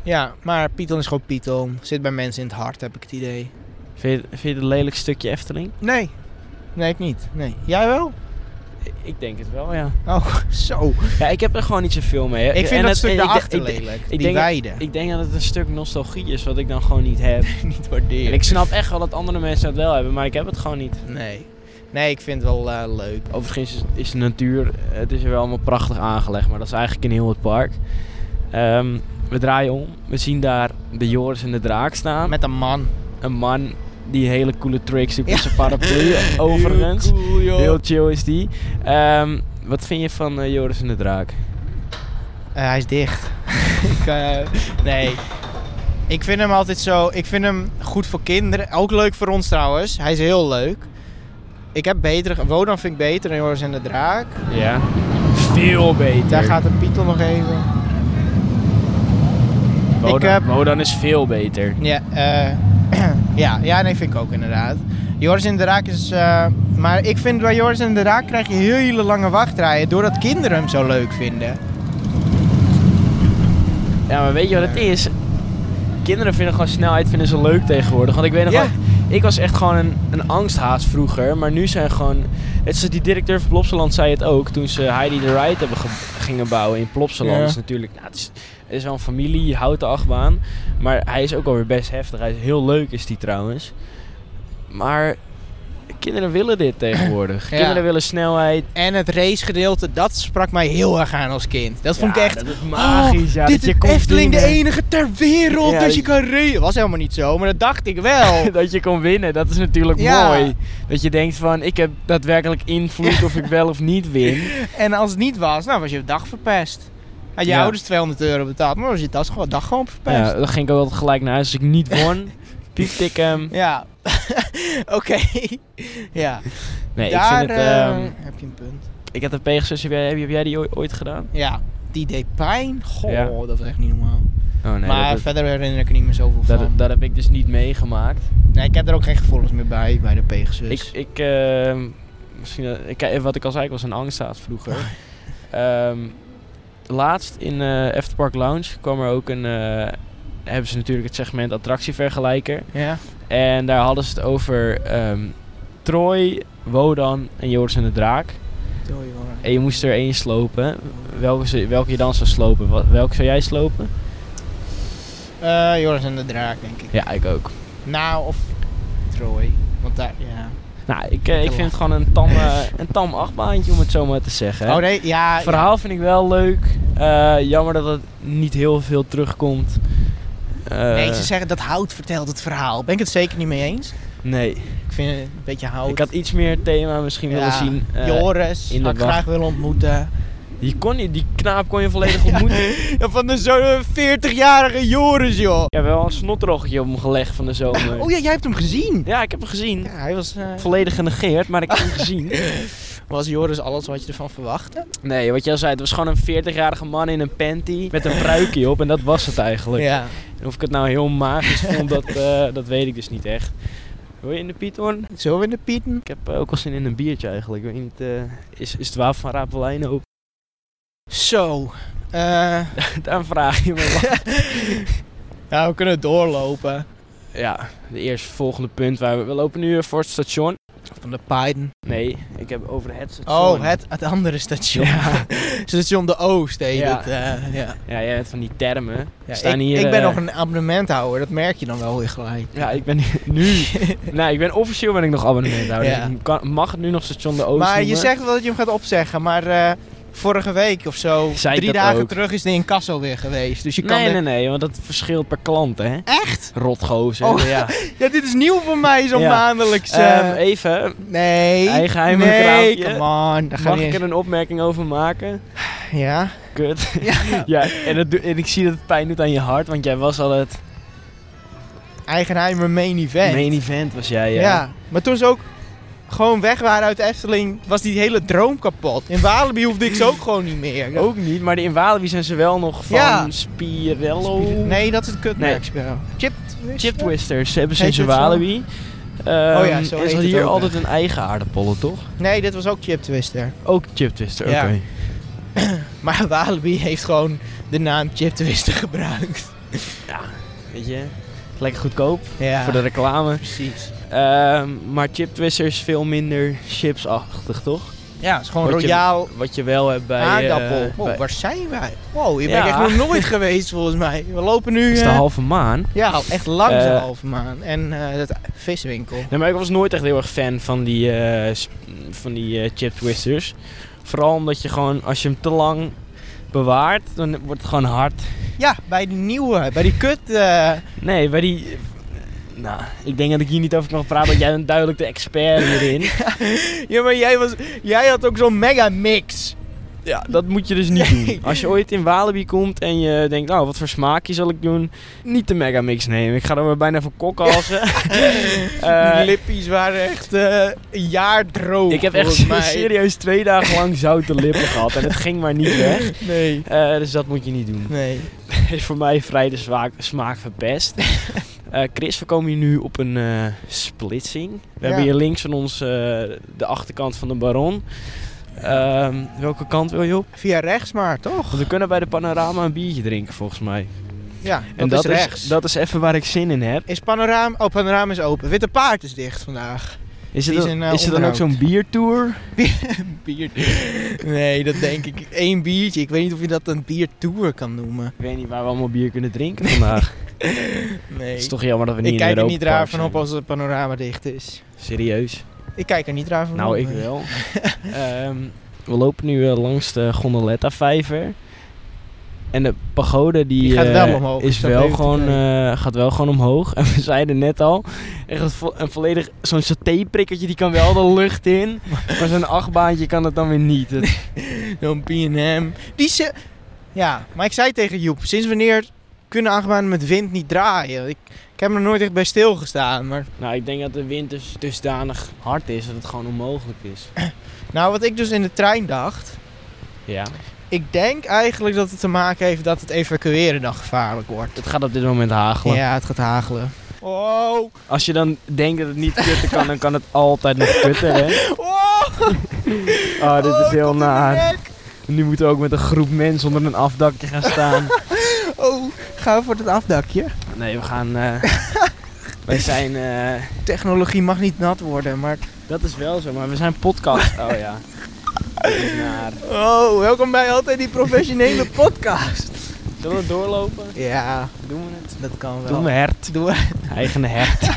Ja, maar Python is gewoon Python. Zit bij mensen in het hart, heb ik het idee. Vind je, vind je het een lelijk stukje Efteling? Nee. Nee, ik niet. Nee. Jij wel? Ik denk het wel, ja. Oh, zo. Ja, ik heb er gewoon niet zoveel mee. hè. Ik vind En dat het- stuk en ik de- daarachter ik de- lelijk. ik die denk- weide. Ik denk dat het een stuk nostalgie is wat ik dan gewoon niet heb. niet waarderen. En ik snap echt wel dat andere mensen dat wel hebben, maar ik heb het gewoon niet. Nee. Nee, ik vind het wel eh, leuk. Overigens is, is de natuur, het is er wel allemaal prachtig aangelegd, maar dat is eigenlijk in heel het park. Ehm, we draaien om, we zien daar de Joris en de Draak staan. Met een man. Een man die hele coole tricks doet met Ja. zijn paraplu, overigens. Heel cool, joh. Heel chill is die. Ehm, wat vind je van eh, Joris en de Draak? Eh, hij is dicht. ik, eh, nee. Ik vind hem altijd zo. Ik vind hem goed voor kinderen. Ook leuk voor ons trouwens. Hij is heel leuk. Ik heb beter. Wodan vind ik beter dan Joris en de Draak. Ja. Veel beter. Daar gaat de Pietel nog even. Wodan, ik heb- Wodan is veel beter. Ja, eh, ja, ja, nee, vind ik ook inderdaad. Joris en de Draak is. eh, maar ik vind bij Joris en de Draak krijg je hele lange wachtrijen. Doordat kinderen hem zo leuk vinden. Ja, maar weet je wat het is? Kinderen vinden gewoon snelheid vinden ze leuk tegenwoordig. Want ik weet nog Ja. wel, ik was echt gewoon een, een angsthaas vroeger. Maar nu zijn gewoon... Het is, die directeur van Plopsaland zei het ook. Toen ze Heidi the Ride hebben ge- gingen bouwen in Plopsaland. Ja. Is natuurlijk, nou, het, is, het is wel een familie, je houdt de achtbaan. Maar hij is ook alweer best heftig. Hij is heel leuk is die trouwens. Maar kinderen willen dit tegenwoordig. Ja. Kinderen willen snelheid. En het racegedeelte, dat sprak mij heel erg aan als kind. Dat vond Ja, ik echt. dat is magisch. "Oh, ja, dit dat je is komt Efteling de winnen." enige ter wereld, Ja, dus dat- je kan racen. was helemaal niet zo, maar dat dacht ik wel. dat je kon winnen, dat is natuurlijk Ja. mooi. Dat je denkt van, ik heb daadwerkelijk invloed of ik wel of niet win. en als het niet was, nou was je dag verpest. Had je Ja. ouders 200 euro betaald, maar was je dag gewoon, dag gewoon verpest. Ja, dan ging ik ook wel gelijk naar huis. Als ik niet won, piepte ik hem. Ja, oké. ja, Nee, daar ik vind het... eh, ehm, heb je een punt. ik had een pleegzus, heb jij, heb jij die ooi- ooit gedaan? Ja, die deed pijn. Goh, Ja. dat is echt niet normaal. Oh nee, maar dat, verder herinner ik er niet meer zoveel dat, van. dat heb ik dus niet meegemaakt. nee, ik heb er ook geen gevoelens meer bij, bij de Pegasus. Ik, ik, ehm, misschien, eh, ik, eh, wat ik al zei, ik was een angststaat vroeger. Ehm, laatst in eh Efterpark Lounge kwam er ook een... eh, hebben ze natuurlijk het segment attractievergelijker. ja. En daar hadden ze het over ehm, Troy, Wodan en Joris en de Draak. Doei, hoor. En je moest er één slopen. Welke, ze- welke je dan zou slopen? Wa- Welke zou jij slopen? Eh, Joris en de Draak, denk ik. Ja, ik ook. Nou, of Troy. Want daar, ja. Nou, ik, eh, ik vind het gewoon een tam, eh, een tam achtbaantje, om het zo maar te zeggen. hè. Oh nee, ja. Het verhaal vind ik wel leuk. Eh, jammer dat het niet heel veel terugkomt. Eh, ja. Nee, ze zeggen dat hout vertelt het verhaal. Ben ik het zeker niet mee eens. nee. Ik vind het een beetje hout. ik had iets meer thema misschien Oh, Ja, willen zien. Eh, Joris, in de had ik wacht. graag willen ontmoeten. die, kon, je- die knaap kon je volledig ontmoeten. Ja, van de zo'n 40-jarige Joris, joh. Ik heb wel een snotroggetje op hem gelegd van de zomer. Oh ja, jij hebt hem gezien. Ja, ik heb hem gezien. Ja, hij was... eh, Volledig genegeerd, maar ik heb hem gezien. was Joris alles wat je ervan verwachtte? Nee, wat jij al zei, het was gewoon een 40-jarige man in een panty met een pruikje op en dat was het eigenlijk. Ja. En of ik het nou heel magisch vond, dat, eh, dat weet ik dus niet echt. Wil je in de Piet hoor? Zo in de pieten. Ik heb eh, ook wel zin in een biertje eigenlijk. Ik weet niet, eh, is, is het wapen van Rapelijn open? Zo. Eh, Daar vraag je me wat. ja, we kunnen doorlopen. Ja, de eerste volgende punt waar we, we lopen nu eh, voor het station. Van de Python. Nee, ik heb over het station. Oh, het, het andere station. Ja. station De Oost heet Ja. het. eh, ja. Ja, jij bent van die termen. Ja, Staan ik, hier, ik ben eh, nog een abonnementhouder, dat merk je dan wel weer gelijk. Ja, ik ben nu. nou, ik ben officieel ben ik nog abonnementhouder. Ja. Dus ik kan, mag het nu nog station de Oost maar je noemen. zegt wel dat je hem gaat opzeggen, maar eh, vorige week of zo, Zei ik drie dat dagen ook? terug, is de incasso weer geweest. Dus je kan nee, er- nee, nee, want dat verschilt per klant, hè? Echt? Rotgozer. Oh. Ja. Ja, dit is nieuw voor mij, zo'n Ja. maandelijks. eh, Ehm, even, nee. eigen geheim nee, kraampje. come on. Daar gaan mag we ik niet er een opmerking over maken? eens- Ja? Kut. ja. ja, en, dat doe- en ik zie dat het pijn doet aan je hart, want jij was al het Eigen geheim main event. main event, was jij. ja. Ja. maar toen ze ook gewoon weg waren uit de Efteling, was die hele droom kapot. In Walibi hoefde ik ze ook gewoon niet meer. Ik dacht, Ook niet, maar in Walibi zijn ze wel nog van Ja. Spirello. Nee, dat is het Nee. kutmerk. Nee. Chip Twister? Chip Twisters hebben ze in Heet zijn het zo? Walibi. Oh ja, zo Ehm, heet en ze hadden het hier ook, altijd een eigen aardappelen, toch? Nee, dit was ook Chip Twister. Ook Chip Twister, oké. Ja. Maar Walibi heeft gewoon de naam chiptwister gebruikt. Weet je? Lekker goedkoop Ja, voor de reclame. precies. Ehm, maar chiptwisters veel minder chipsachtig, toch? Ja, het is gewoon Wat je- royaal Wat je wel hebt bij... eh, aardappel. Wow, bij- waar zijn wij? Wow, hier ben Ja. ik echt nog nooit geweest volgens mij. We lopen nu... Het is de eh, halve maan. ja, echt langs de Eh. halve maan. En eh dat viswinkel. Nee, maar ik was nooit echt heel erg fan van die, eh, sp- van die eh, chip twisters. Vooral omdat je gewoon, als je hem te lang bewaart, dan wordt het gewoon hard. Ja, bij die nieuwe, bij die kut... eh, Nee, bij die... Nou, ik denk dat ik hier niet over kan praten, want jij bent duidelijk de expert hierin. ja, maar jij, was, jij had ook zo'n mega mix. Ja, dat moet je dus niet Nee. doen. Als je ooit in Walibi komt en je denkt, nou, wat voor smaakje zal ik doen? Niet de Megamix nemen. Ik ga er maar bijna voor kokhalzen. Eh, die lippies waren echt eh, een jaar droog. ik heb echt volgens mij. serieus twee dagen lang zoute lippen gehad en het ging maar niet weg. Nee. Eh, dus dat moet je niet doen. Nee. is voor mij vrij de smaak, smaak verpest. Eh, Chris, we komen hier nu op een eh, splitsing. We Ja. hebben hier links van ons eh, de achterkant van de baron. Ehm, welke kant wil je op? Via rechts maar, toch? Want we kunnen bij de panorama een biertje drinken volgens mij. Ja, dat, en is rechts. dat is even waar ik zin in heb. Is panorama... Oh, panorama is open. Witte paard is dicht vandaag. Is Die het, dan- is in, eh, is het dan ook zo'n onderhoud. biertour? Bier... Nee, dat denk ik. Eén biertje. Ik weet niet of je dat een biertour kan noemen. Ik weet niet waar we allemaal bier kunnen drinken vandaag. Nee. Het is toch jammer dat we niet ik in kijk er Europa niet raar Park van zijn. op als het panorama dicht is. Serieus? Ik kijk er niet raar van op. Nou, ik eh. wel. Ehm, we lopen nu eh, langs de Gondoletta-vijver. En de pagode die, Die gaat eh, wel omhoog, is ik zat wel even te gewoon, kijken. eh, gaat wel gewoon omhoog. En we zeiden net al, echt een, vo- een volledig zo'n satéprikkertje die kan wel de lucht in. maar zo'n achtbaantje kan dat dan weer niet. Het- Zo'n P&M. Die ze... Ja, maar ik zei tegen Joep, sinds wanneer kunnen achtbanen met wind niet draaien? Ik, ik heb er nooit echt bij stilgestaan, maar... nou, ik denk dat de wind dus dusdanig hard is dat het gewoon onmogelijk is. Nou, wat ik dus in de trein dacht... Ja. Ik denk eigenlijk dat het te maken heeft dat het evacueren dan gevaarlijk wordt. Het gaat op dit moment hagelen. Ja, het gaat hagelen. Oh, Als je dan denkt dat het niet kutten kan, dan kan het altijd nog kutten, hè? oh, Oh, dit oh, is heel tot in de naar. nek. Nu moeten we ook met een groep mensen onder een afdakje gaan staan. Oh, gaan we voor het afdakje? Nee, we gaan. eh, wij zijn. eh, Technologie mag niet nat worden, maar... dat is wel zo, maar we zijn podcast. Oh ja. Dat is naar. Oh, welkom bij Altijd Die Professionele Podcast. Zullen we doorlopen? Ja, Doen we het? dat kan wel. Doen we hert. Doen we. Eigen hert.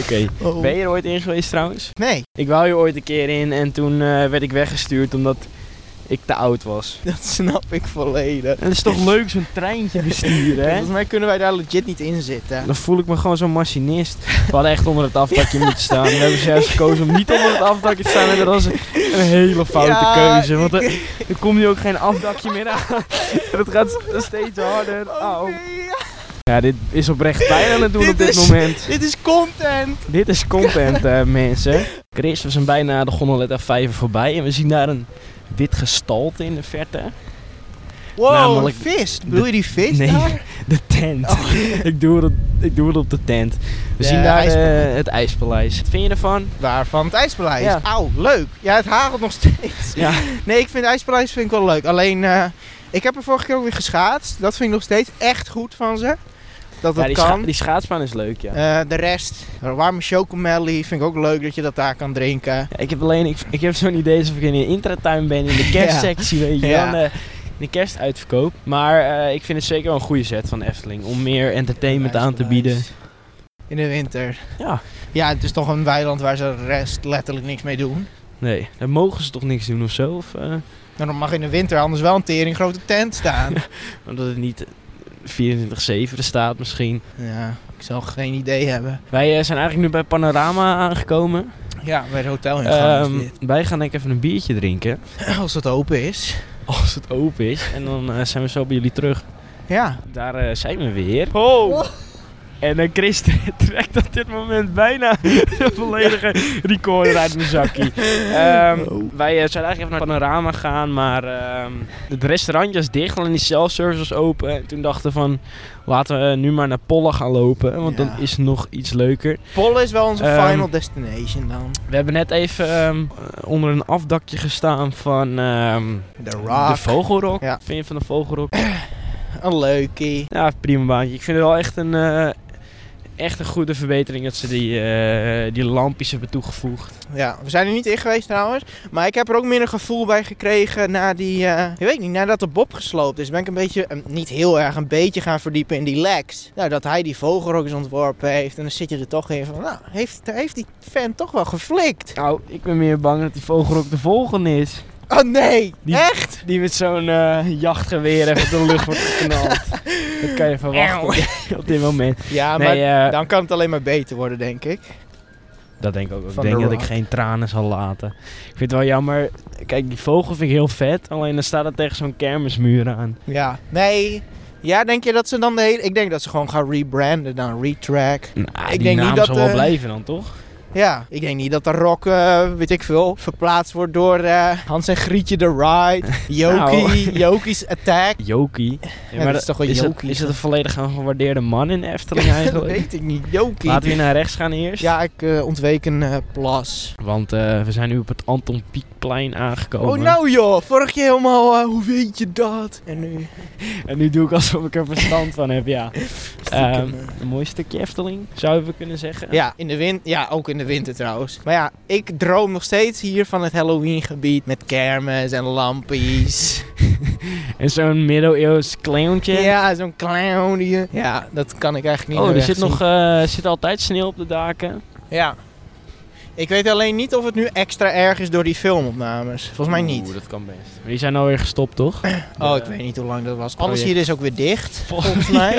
Oké. Oh. Ben je er ooit in geweest trouwens? Nee, Ik wou hier ooit een keer in en toen eh, werd ik weggestuurd omdat ik te oud was. Dus- dat snap ik volledig. En het is toch leuk zo'n treintje besturen, hè? Volgens mij kunnen wij daar legit niet in zitten. Dan voel ik me gewoon zo'n machinist. We hadden echt onder het afdakje moeten staan. We hebben zelfs gekozen om niet onder het afdakje te staan. En dat was een een hele foute Ja, keuze. Want ik- er, er komt nu ook geen afdakje meer aan. En het gaat s- steeds harder. Oh, Au. nee. Ja, dit is oprecht pijn aan het doen Dit op dit is- moment. Dit is content. Dit is content, eh, mensen. Chris, we zijn bijna de gondoletta 5 voorbij. En we zien daar een wit gestalte in de verte. Wow, Namelijk- een vis. Bedoel je die vis Nee. daar? De tent. ik, doe het, ik doe het op de tent. We Oh. De zien daar eh, ijspaleis. het ijspaleis. Wat vind je ervan? Waarvan het ijspaleis. Ja. Auw, leuk. Ja, het hagelt nog steeds. Ja. Nee, ik vind het ijspaleis vind ik wel leuk. Alleen, eh, ik heb er vorige keer ook weer geschaatst. Dat vind ik nog steeds echt goed van ze. Dat Ja, dat die, scha- kan. die schaatsbaan is leuk, ja. Eh, de rest, warme chocomelly, vind ik ook leuk dat je dat daar kan drinken. Ja, ik heb alleen, ik, ik heb zo'n idee alsof ik in een intratuin ben, in de kerstsectie, weet je wel. Ja. en, eh, in de kerstuitverkoop. Maar eh, ik vind het zeker wel een goede set van de Efteling. Om meer entertainment aan te bieden. In de winter. Ja. Ja, het is toch een weiland waar ze de rest letterlijk niks mee doen. Nee, daar mogen ze toch niks doen of zo? Of, eh, Nou, dan mag in de winter anders wel een tering grote tent staan. omdat het niet 24-7 er staat misschien. ja, ik zal geen idee hebben. Wij eh, zijn eigenlijk nu bij Panorama aangekomen. Ja, bij het hotel in Ehm, wij gaan denk ik even een biertje drinken. Als het open is. Als het open is. En dan eh, zijn we zo bij jullie terug. Ja. Daar eh, zijn we weer. Oh. En eh, Chris trekt op dit moment bijna de volledige recorder uit mijn zakkie. Ehm, Wij eh, zouden eigenlijk even naar het panorama gaan, maar ehm, het restaurantje was dicht, alleen die self-service was open. En toen dachten we van, laten we eh, nu maar naar Pollen gaan lopen, want Ja. dan is het nog iets leuker. Polen is wel onze Ehm, final destination dan. We hebben net even ehm, onder een afdakje gestaan van ehm, The Rock. de Vogelrok. Ja. Wat Vind je van de Vogelrok? Een leukie. Ja, prima baantje. Ik vind het wel echt een, eh, echt een goede verbetering dat ze die, eh, die lampjes hebben toegevoegd. Ja, we zijn er niet in geweest trouwens. Maar ik heb er ook meer een gevoel bij gekregen na die... eh, ik weet niet, nadat de Bob gesloopt is, ben ik een beetje... eh, niet heel erg, een beetje gaan verdiepen in die Lex. Nou, dat hij die vogelrok eens ontworpen heeft. En dan zit je er toch in van, nou, heeft, heeft die fan toch wel geflikt? Nou, ik ben meer bang dat die Vogelrok de volgende is. Oh nee, Die- echt? Die met zo'n eh, jachtgeweer even de lucht wordt geknald. dat kan je verwachten op dit- op dit moment. Ja, maar nee, eh, dan kan het alleen maar beter worden, denk ik. dat denk ik ook. Ik Van denk The dat ik Rock. geen tranen zal laten. Ik vind het wel jammer. Kijk, die vogel vind ik heel vet. Alleen dan staat het tegen zo'n kermismuur aan. Ja. Nee. Ja, denk je dat ze dan de hele... Ik denk dat ze gewoon gaan rebranden dan, retrack. Nou, Ik die denk niet naam dat, zal wel eh, blijven dan, toch? Ja, ik denk niet dat de rock, eh, weet ik veel, verplaatst wordt door eh, Hans en Grietje de Ride, Jokie, Nou. Jokies Attack. Jokie. Ja, dat is toch wel is Het, Jokie, is toch? het een volledig gewaardeerde man in Efteling eigenlijk? weet ik niet, Jokie. Laten we hier naar rechts gaan eerst. Ja, ik eh, ontweek een eh, plas. Want eh, we zijn nu op het Anton Pieckplein aangekomen. Oh, nou joh, vorig keer helemaal, eh, hoe weet je dat? En nu... En nu doe ik alsof ik er verstand van heb, ja. Ehm, eh. een mooi stukje Efteling, zouden we kunnen zeggen. Ja, in de wind, ja, ook in de winter trouwens. Maar ja, ik droom nog steeds hier van het Halloween gebied met kermis en lampies. En zo'n middeleeuws clowntje. Ja, zo'n clown hier. Ja, dat kan ik eigenlijk niet Oh, er meer zit, wegzien. nog, eh, zit altijd sneeuw op de daken. Ja. Ik weet alleen niet of het nu extra erg is door die filmopnames. Volgens mij Oeh, niet. dat kan best. Maar die zijn alweer gestopt, toch? Oh, ik weet niet hoe lang dat was. Alles project. hier is ook weer dicht, volgens mij.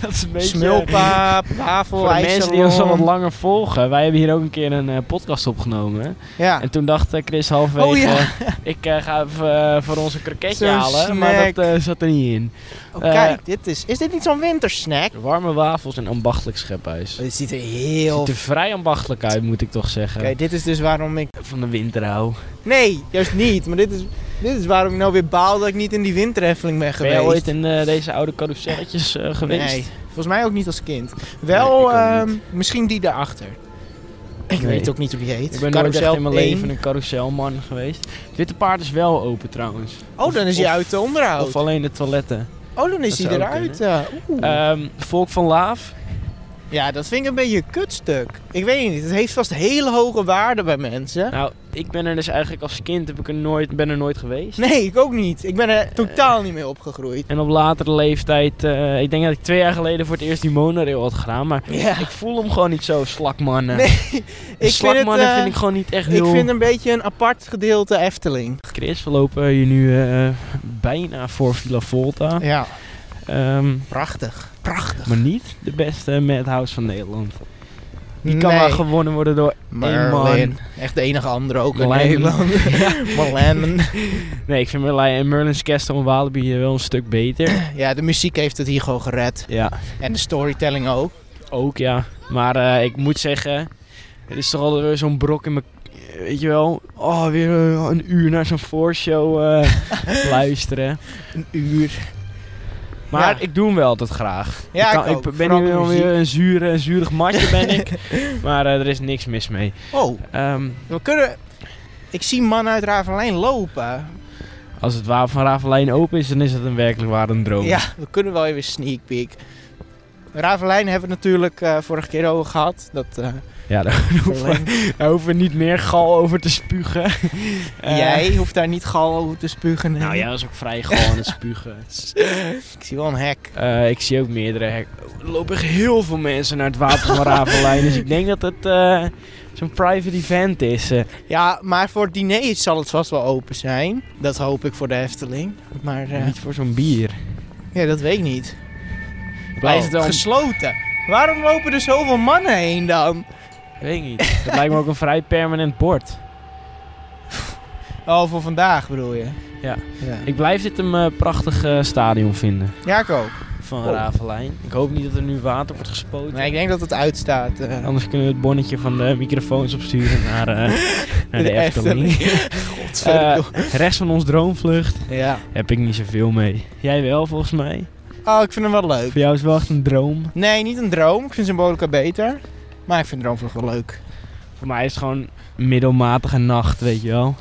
dat is een beetje... eh, Smulpaap, tafel, Voor de mensen die ons al wat ijssalon. langer volgen. Wij hebben hier ook een keer een eh, podcast opgenomen. Ja. En toen dacht eh, Chris halverwege, Ah. Oh ja. eh, ik eh, ga even eh, voor ons een kroketje Zo'n halen, maar dat snack. eh, zat er niet in. Oh, eh, kijk, dit is... Is dit niet zo'n wintersnack? Warme wafels en ambachtelijk schephuis. Dit ziet er Ziet heel... er vrij ambachtelijk uit, moet ik toch zeggen. Kijk, dit is dus waarom ik... Van de winter hou. Nee, juist niet. Maar dit is, dit is waarom ik nou weer baal dat ik niet in die winterheffeling ben Ben geweest. jij ooit in eh, deze oude carouselletjes eh, geweest? Nee, volgens mij ook niet als kind. Wel, ik ook ehm, misschien die daarachter. Ik Nee. weet ook niet hoe die heet. Ik ben nooit Carousel echt in mijn 1. leven een carouselman geweest. Het witte paard is wel open trouwens. Oh, dan is hij Of- uit de onderhoud. Of alleen de toiletten. oh, dan is dat hij zou eruit. eh, oeh. Ehm, Volk van Laaf. ja, dat vind ik een beetje een kutstuk. Ik weet niet, het heeft vast hele hoge waarde bij mensen. Nou, ik ben er dus eigenlijk als kind heb ik er nooit, ben er nooit geweest. Nee, ik ook niet. Ik ben er totaal niet mee opgegroeid. En op latere leeftijd, eh, ik denk dat ik twee jaar geleden voor het eerst die monorail had gedaan, maar Ja, ik voel hem gewoon niet zo, slakmannen. Nee, En ik vind het... slakmannen eh, vind ik gewoon niet echt ik heel... vind een beetje een apart gedeelte Efteling. Chris, we lopen hier nu eh, bijna voor Villa Volta. Ja, Ehm, prachtig. Prachtig. maar niet de beste madhouse van Nederland. Die kan maar gewonnen worden door één man. Merlin. Echt de enige andere ook in Merlin. Nederland. Merlin. Nee, ik vind Merlijn en Merlin's Castle en Walibi wel een stuk beter. Ja, de muziek heeft het hier gewoon gered. ja, En de storytelling ook. ook ja. Maar eh, ik moet zeggen, er is toch alweer zo'n brok in mijn... Weet je wel, oh, weer eh, een uur naar zo'n voorshow eh, luisteren. Een uur. Maar Ja. ik doe hem wel altijd graag. Ja, ik, kan- ook. ben Vooral hier wel de muziek. weer een zure, een zuurig matje ben ik. Maar eh, er is niks mis mee. Oh, Ehm, we kunnen... Ik zie mannen uit Ravenlijn lopen. als het wapen van Ravelijn open is, dan is het een werkelijk waar een droom. Ja, we kunnen wel even sneak peek. Ravenlijn hebben we het natuurlijk eh, vorige keer over gehad. Dat, eh, Ja, daar, hoeven, Verlijn- daar hoeven we niet meer gal over te spugen. Eh, jij hoeft daar niet gal over te spugen. nee. Nou, jij was ook vrij gal aan het spugen. Ik zie wel een hek. Eh, ik zie ook meerdere hek. Er lopen echt heel veel mensen naar het wapen van Ravelijn. Dus ik denk dat het eh, zo'n private event is. Eh, Ja, maar voor het diner zal het vast wel open zijn. Dat hoop ik voor de Efteling. Maar eh, Niet voor zo'n bier. ja, dat weet ik niet. Blijft Oh, het wel gesloten. Waarom lopen er zoveel mannen heen dan? Weet ik niet. Dat lijkt me ook een vrij permanent bord. Oh, voor vandaag bedoel je? Ja. Ja, Ik blijf dit een eh, prachtig eh, stadion vinden. ja ik ook. van Oh. Ravelijn. Ik hoop niet dat er nu water wordt gespoten. Nee, ik denk dat het uitstaat. eh. Anders kunnen we het bonnetje van de microfoons opsturen naar, eh, naar de, De Efteling. Godverdomme. Eh, rest van ons droomvlucht ja. heb ik niet zoveel mee. Jij wel, volgens mij. Oh, ik vind hem wel leuk. Voor jou is het wel echt een droom. Nee, niet een droom. Ik vind Symbolica beter. Maar ik vind Droomvlucht wel leuk. Voor mij is het gewoon een middelmatige nacht, weet je wel.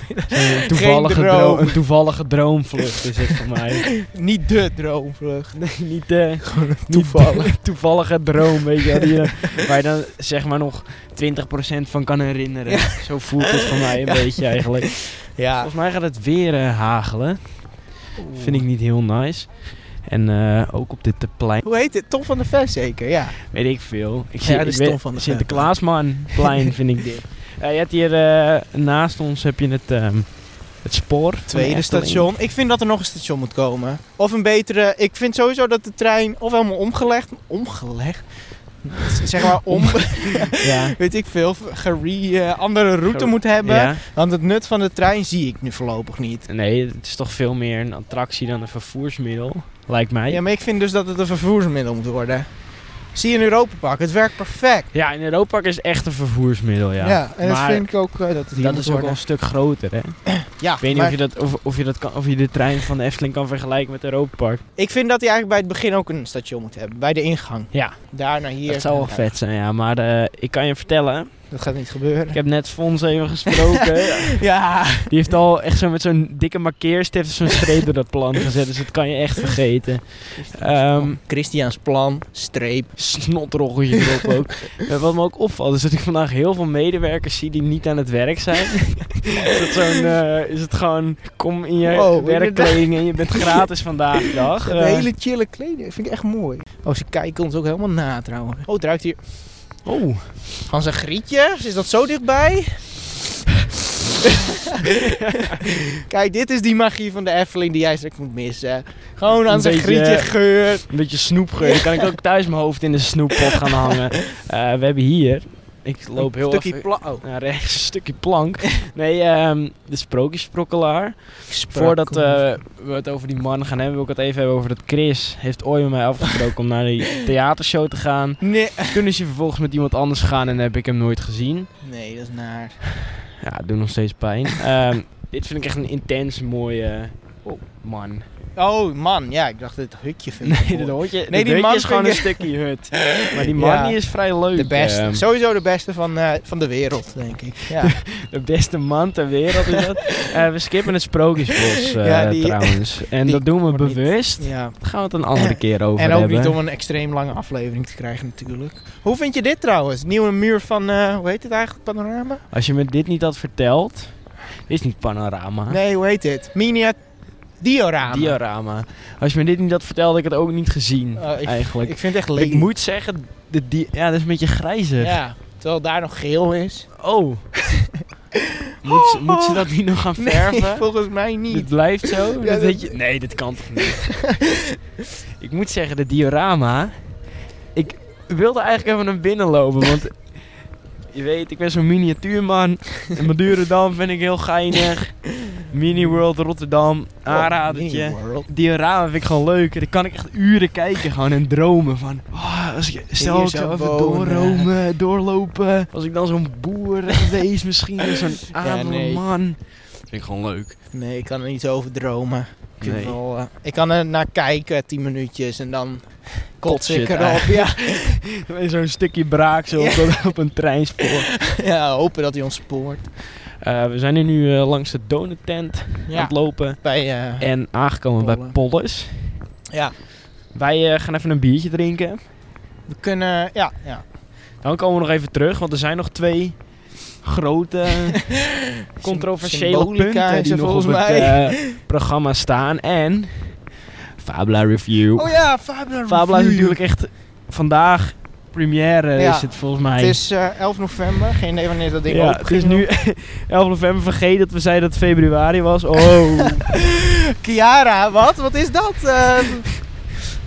een, toevallige Geen droom. droom. een toevallige droomvlucht is het voor mij. Niet de Droomvlucht. Nee, niet de toevallig. toevallige droom, weet je wel. Die, eh, waar je dan zeg maar nog 20% van kan herinneren. Zo voelt het voor mij een beetje eigenlijk. Ja. Volgens mij gaat het weer eh, hagelen. Vind ik niet heel nice. En eh, ook op dit plein. Hoe heet het? Tom van de Ves zeker, ja. Weet ik veel. Ik Ja, ik dat is weet- Tom van de Ven. Sinterklaasmanplein vind ik dit. Eh, je hebt hier eh, naast ons heb je het, ehm, het spoor. van de Tweede Efteling. station. Ik vind dat er nog een station moet komen. Of een betere... Ik vind sowieso dat de trein of helemaal omgelegd... Omgelegd? Zeg maar om... Ja. weet ik veel. Gere, eh, andere route Gere- moet hebben. ja. Want het nut van de trein zie ik nu voorlopig niet. Nee, het is toch veel meer een attractie dan een vervoersmiddel. Lijkt mij. Ja, maar ik vind dus dat het een vervoersmiddel moet worden. Zie je in Europa Park, het werkt perfect. Ja, in Europa is het echt een vervoersmiddel, ja. Ja, en dat maar vind ik ook eh, dat het hier dat moet is ook wel worden. een stuk groter, hè. Ja, Ik weet niet maar of je, dat, of, of, je dat kan, of je de trein van de Efteling kan vergelijken met Europa Park. ik vind dat hij eigenlijk bij het begin ook een station moet hebben. Bij de ingang. Ja, Daar naar hier. dat zou wel Ja, vet zijn, ja. Maar eh, ik kan je vertellen, Dat gaat niet ik gebeuren. heb net Fons even gesproken. Ja, Die heeft al echt zo met zo'n dikke markeerstift zo'n streep door dat plan gezet. Dus dat kan je echt vergeten. Ehm Christiaans plan, streep. snotroggeltje erop ook. Eh, wat me ook opvalt is dat ik vandaag heel veel medewerkers zie die niet aan het werk zijn. is, dat zo'n, eh, is het gewoon, kom in je Oh, werkkleding en je bent gratis vandaag dag. De Eh, hele chille kleding, vind ik echt mooi. Oh, ze kijken ons ook helemaal na trouwens. Oh, het ruikt hier oh. Hans en Grietje, is dat zo dichtbij? Kijk, dit is die magie van de Efteling die jij straks moet missen. Gewoon Hans en Een beetje- Grietje geur. Een beetje snoepgeur. Dan kan ik ook thuis mijn hoofd in de snoeppot gaan hangen. Eh, we hebben hier... Ik loop heel Stukje even pla- oh. naar rechts. Een stukje plank. Nee, ehm, de sprookjesprokkelaar. Voordat eh, we het over die man gaan hebben, wil ik het even hebben over dat Chris heeft ooit met mij afgesproken om naar die theatershow te gaan. Nee. Toen is hij vervolgens met iemand anders gegaan en heb ik hem nooit gezien. nee, dat is naar. Ja, het doet nog steeds pijn. Ehm, dit vind ik echt een intens mooie oh, man. Oh man, ja, ik dacht dit hutje vind ik Nee, mooi. dat hoortje, nee, die die man man is gewoon vind een ik- stukje hut. Maar die man Ja. die is vrij leuk. de beste. ehm. Sowieso de beste van, eh, van de wereld, denk ik. Ja. De beste man ter wereld is dat. Eh, we skippen het Sprookjesbos eh, Ja, die- trouwens. En die dat doen we wordt niet- bewust. ja. Daar gaan we het een andere keer over En ook hebben. niet om een extreem lange aflevering te krijgen, natuurlijk. Hoe vind je dit trouwens? Nieuwe muur van, eh, hoe heet het eigenlijk? Panorama? Als je me dit niet had verteld. Dit is niet panorama. Nee, hoe heet dit? Minia Diorama. Diorama. Als je me dit niet had verteld, had ik het ook niet gezien. Oh, ik- eigenlijk. Ik Ik, vind het echt lelijk. moet zeggen, de di- ja, dat is een beetje grijzer. Ja, terwijl daar nog geel is. Oh. moet, ze, moet Oh. ze dat niet nog gaan verven? volgens mij Dit niet. blijft zo? Dat dat- weet je- Nee, dit kan toch niet? ik moet zeggen, de diorama... Ik wilde eigenlijk even naar binnen lopen, want... Je weet, ik ben zo'n miniatuurman. In Madurodam vind ik heel geinig. Mini World Rotterdam, aanradertje. Mini World. Diorama vind ik gewoon leuk. En dan kan ik echt uren kijken gewoon en dromen van... ah, als ik, stel Hier ik zou zou even wonen. doorromen, doorlopen. Als ik dan zo'n boer geweest misschien, of zo'n Ja, nee. adelman. Vind ik gewoon leuk. Nee, ik kan er niet over dromen. Ik, vind Nee. wel, eh, ik kan er naar kijken, 10 minuutjes, en dan kots Kotshit ik erop. Ja. Met Zo'n stukje braaksel op, dat- op een treinspoor. ja, hopen dat hij ons spoort. Eh, we zijn hier nu eh, langs de donut tent aan Ja, het lopen. bij, eh, En aangekomen bij Pollen. Polles. ja. Wij eh, gaan even een biertje drinken. we kunnen, ja, ja. Dan komen we nog even terug, want er zijn nog twee grote controversiële Symbolica punten is die er nog op volgens het mij. eh, programma staan. En Fabula Review. Oh ja, Fabula Fabula is Review. natuurlijk echt vandaag première Ja. is het volgens mij. Het is eh, 11 november, geen idee wanneer dat ding ja, open het is nu 11 november. Vergeet dat we zeiden dat het februari was. Oh. Kiara, wat? Wat is dat? Eh,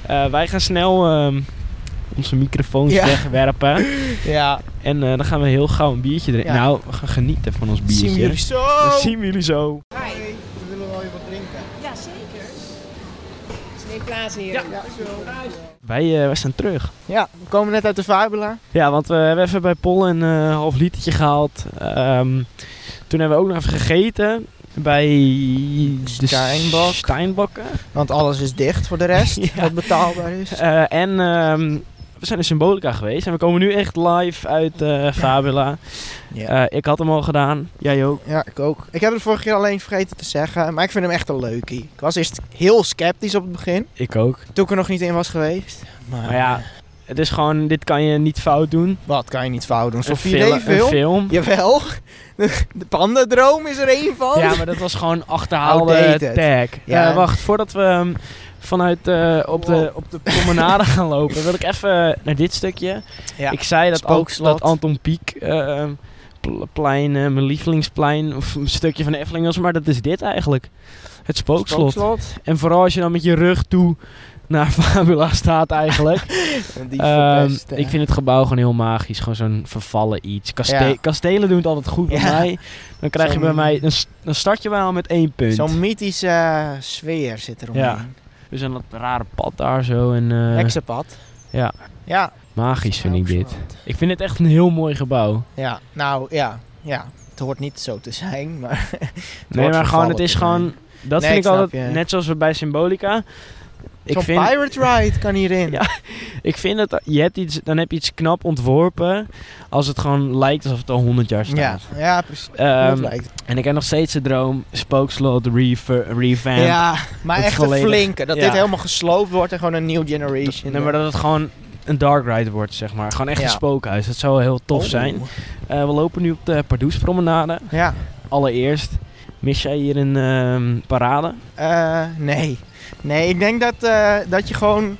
Eh, wij gaan snel ehm, onze microfoons Ja. wegwerpen. ja, En eh, dan gaan we heel gauw een biertje drinken. Ja. Nou, we gaan genieten van ons biertje. zien we jullie zo. Dat zien we jullie zo. we willen wel even wat drinken. Ja, zeker. Het is een klein Helaas, heren. Ja, Wij, eh, wij zijn terug. ja, we komen net uit de Fabula. Ja, want eh, we hebben even bij Pol een eh, half litertje gehaald. Ehm, toen hebben we ook nog even gegeten bij de Steinbok. Steinbokken. Want alles is dicht voor de rest, Ja. wat betaalbaar is. Eh, en ehm, we zijn in Symbolica geweest en we komen nu echt live uit eh, Fabula. Ja. Eh, ik had hem al gedaan, jij ook. Ja, ik ook. Ik heb het vorige keer alleen vergeten te zeggen, maar ik vind hem echt een leukie. Ik was eerst heel sceptisch op het begin, Ik ook. toen ik er nog niet in was geweest. Maar, Maar ja, het is gewoon, dit kan je niet fout doen. wat kan je niet fout doen? Een Sophie fil- een Leefwil? film. Jawel, de pandadroom is er één van. Ja, maar dat was gewoon achterhaalde Oh, Outdated. tag. Ja. Ja, wacht, voordat we ehm, vanuit eh, op, de, op de promenade gaan lopen, wil ik even naar dit stukje. Ja. Ik zei dat, ook, Spookslot. dat Anton Pieck eh, ehm, pl- plein, eh, mijn lievelingsplein, of een stukje van de Efteling was, maar dat is dit eigenlijk. Het spookslot. En vooral als je dan met je rug toe naar Fabula staat eigenlijk. Die Ehm, verpest, eh. ik vind het gebouw gewoon heel magisch. Gewoon zo'n vervallen iets. Kaste- Ja. Kastelen doen het altijd goed bij Ja. mij. Dan krijg je Zo'n- bij mij... een s- Dan start je wel al met één punt. Zo'n mythische eh, sfeer zit eromheen. Ja. Dus een dat rare pad daar zo. En, eh, Heksenpad. ja. Ja. magisch vind ik dit. Spookslot. Ik vind het echt een heel mooi gebouw. Ja, nou ja, ja. Het hoort niet zo te zijn, maar... Nee, maar gewoon, het is gewoon... Dat vind Nee, ik ik snap altijd... je. Net zoals we bij Symbolica... Ik Zo'n vind, pirate ride kan hierin. Ja. ik vind dat je hebt iets, dan heb je iets knap ontworpen als het gewoon lijkt alsof het Ehm, al 100 jaar ja, staat. ja precies. Ja. dat lijkt. En ik heb nog steeds de droom, Spookslot, rever, Revamp. ja, maar het echt volledig- een flinke. Dat ja. dit helemaal gesloopt wordt en gewoon een new generation. Nee, maar dat het gewoon een dark ride wordt, zeg maar. Gewoon echt Ja. een spookhuis. Dat zou heel tof Oh. zijn. Eh, we lopen nu op de Pardoespromenade. Ja. Allereerst, mis jij hier een ehm, parade? Eh, nee. Nee, ik denk dat, eh, dat je gewoon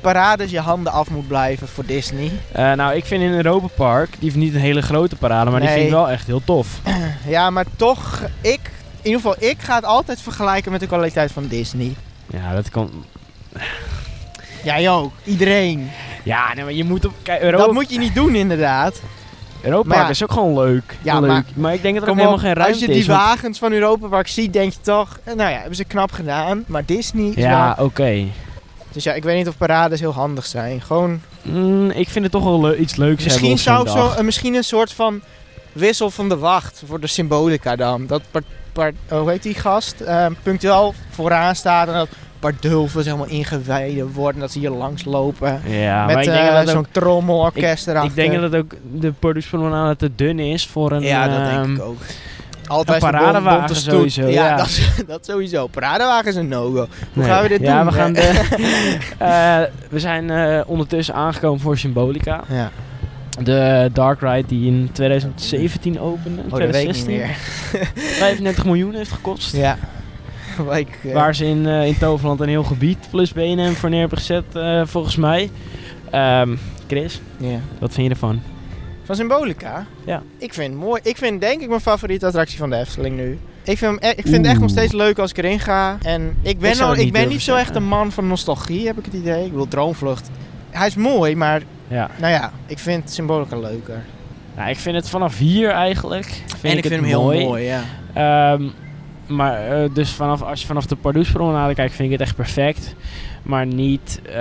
parades je handen af moet blijven voor Disney. Eh, nou, ik vind in Europa Park, die heeft niet een hele grote parade, maar die Nee. vind ik wel echt heel tof. Ja, maar toch, ik... In ieder geval, ik ga het altijd vergelijken met de kwaliteit van Disney. Ja, dat kan... Jij ook. Iedereen. Ja, nee, maar je moet op... Kijk, Europa, Dat moet je niet doen, inderdaad. Europa maar Park ja. is ook gewoon leuk. Ja, leuk. maar- Maar, ik denk dat er ook Kom helemaal op, geen ruimte Als je die is. want- wagens van Europa Park ziet, denk je toch... eh, Nou ja, hebben ze knap gedaan. Maar Disney... is Ja, wel- oké. Dus ja, ik weet niet of parades heel handig zijn. Gewoon... Mm, ik vind het toch wel leu- iets leuks Misschien, hebben zou op zo'n zo, dag. eh, misschien een soort van wissel van de wacht voor de symbolica dan. Dat, par, par- hoe heet die gast? Eh, punctueel vooraan staat en dat Pardulfus helemaal ingewijden wordt. En dat ze hier langs lopen. Ja, maar met ik denk eh, dat het ook zo'n trommelorkest erachter. Ik denk dat het ook de productpromenade te dun is voor een... Ja, dat denk ehm, ik ook. Altijd zo'n paradewagen bom- bonte stoet. sowieso, ja. dat, is- dat sowieso. Paradewagen is een no-go. Hoe nee. gaan we dit ja, doen? We, gaan Eh, de- eh, we zijn eh, ondertussen aangekomen voor Symbolica. Ja, De Dark Ride die in 2017 opende. oh, dat weet ik niet 2016. meer. 35 miljoen heeft gekost. Ja. Waar ik, eh, Waar ze in, eh, in Toverland een heel gebied plus BNM voor neer hebben gezet, eh, volgens mij. Ehm, Chris, ja. wat vind je ervan? Van Symbolica? Ja. Ik vind het mooi. Ik vind denk ik mijn favoriete attractie van de Efteling nu. Ik vind, hem e- ik vind het echt nog Oeh. steeds leuk als ik erin ga. En ik ben, Ik zou al, het ik niet ben durven niet zo echt zeggen. een man van nostalgie, heb ik het idee. Ik wil Droomvlucht. Hij is mooi, maar Ja. nou ja, ik vind Symbolica leuker. Nou, ik vind het vanaf hier eigenlijk. Vind en ik, het vind hem heel mooi, ja. Ehm, maar eh, dus vanaf, als je vanaf de Pardoespromenade kijkt, vind ik het echt perfect. Maar niet eh,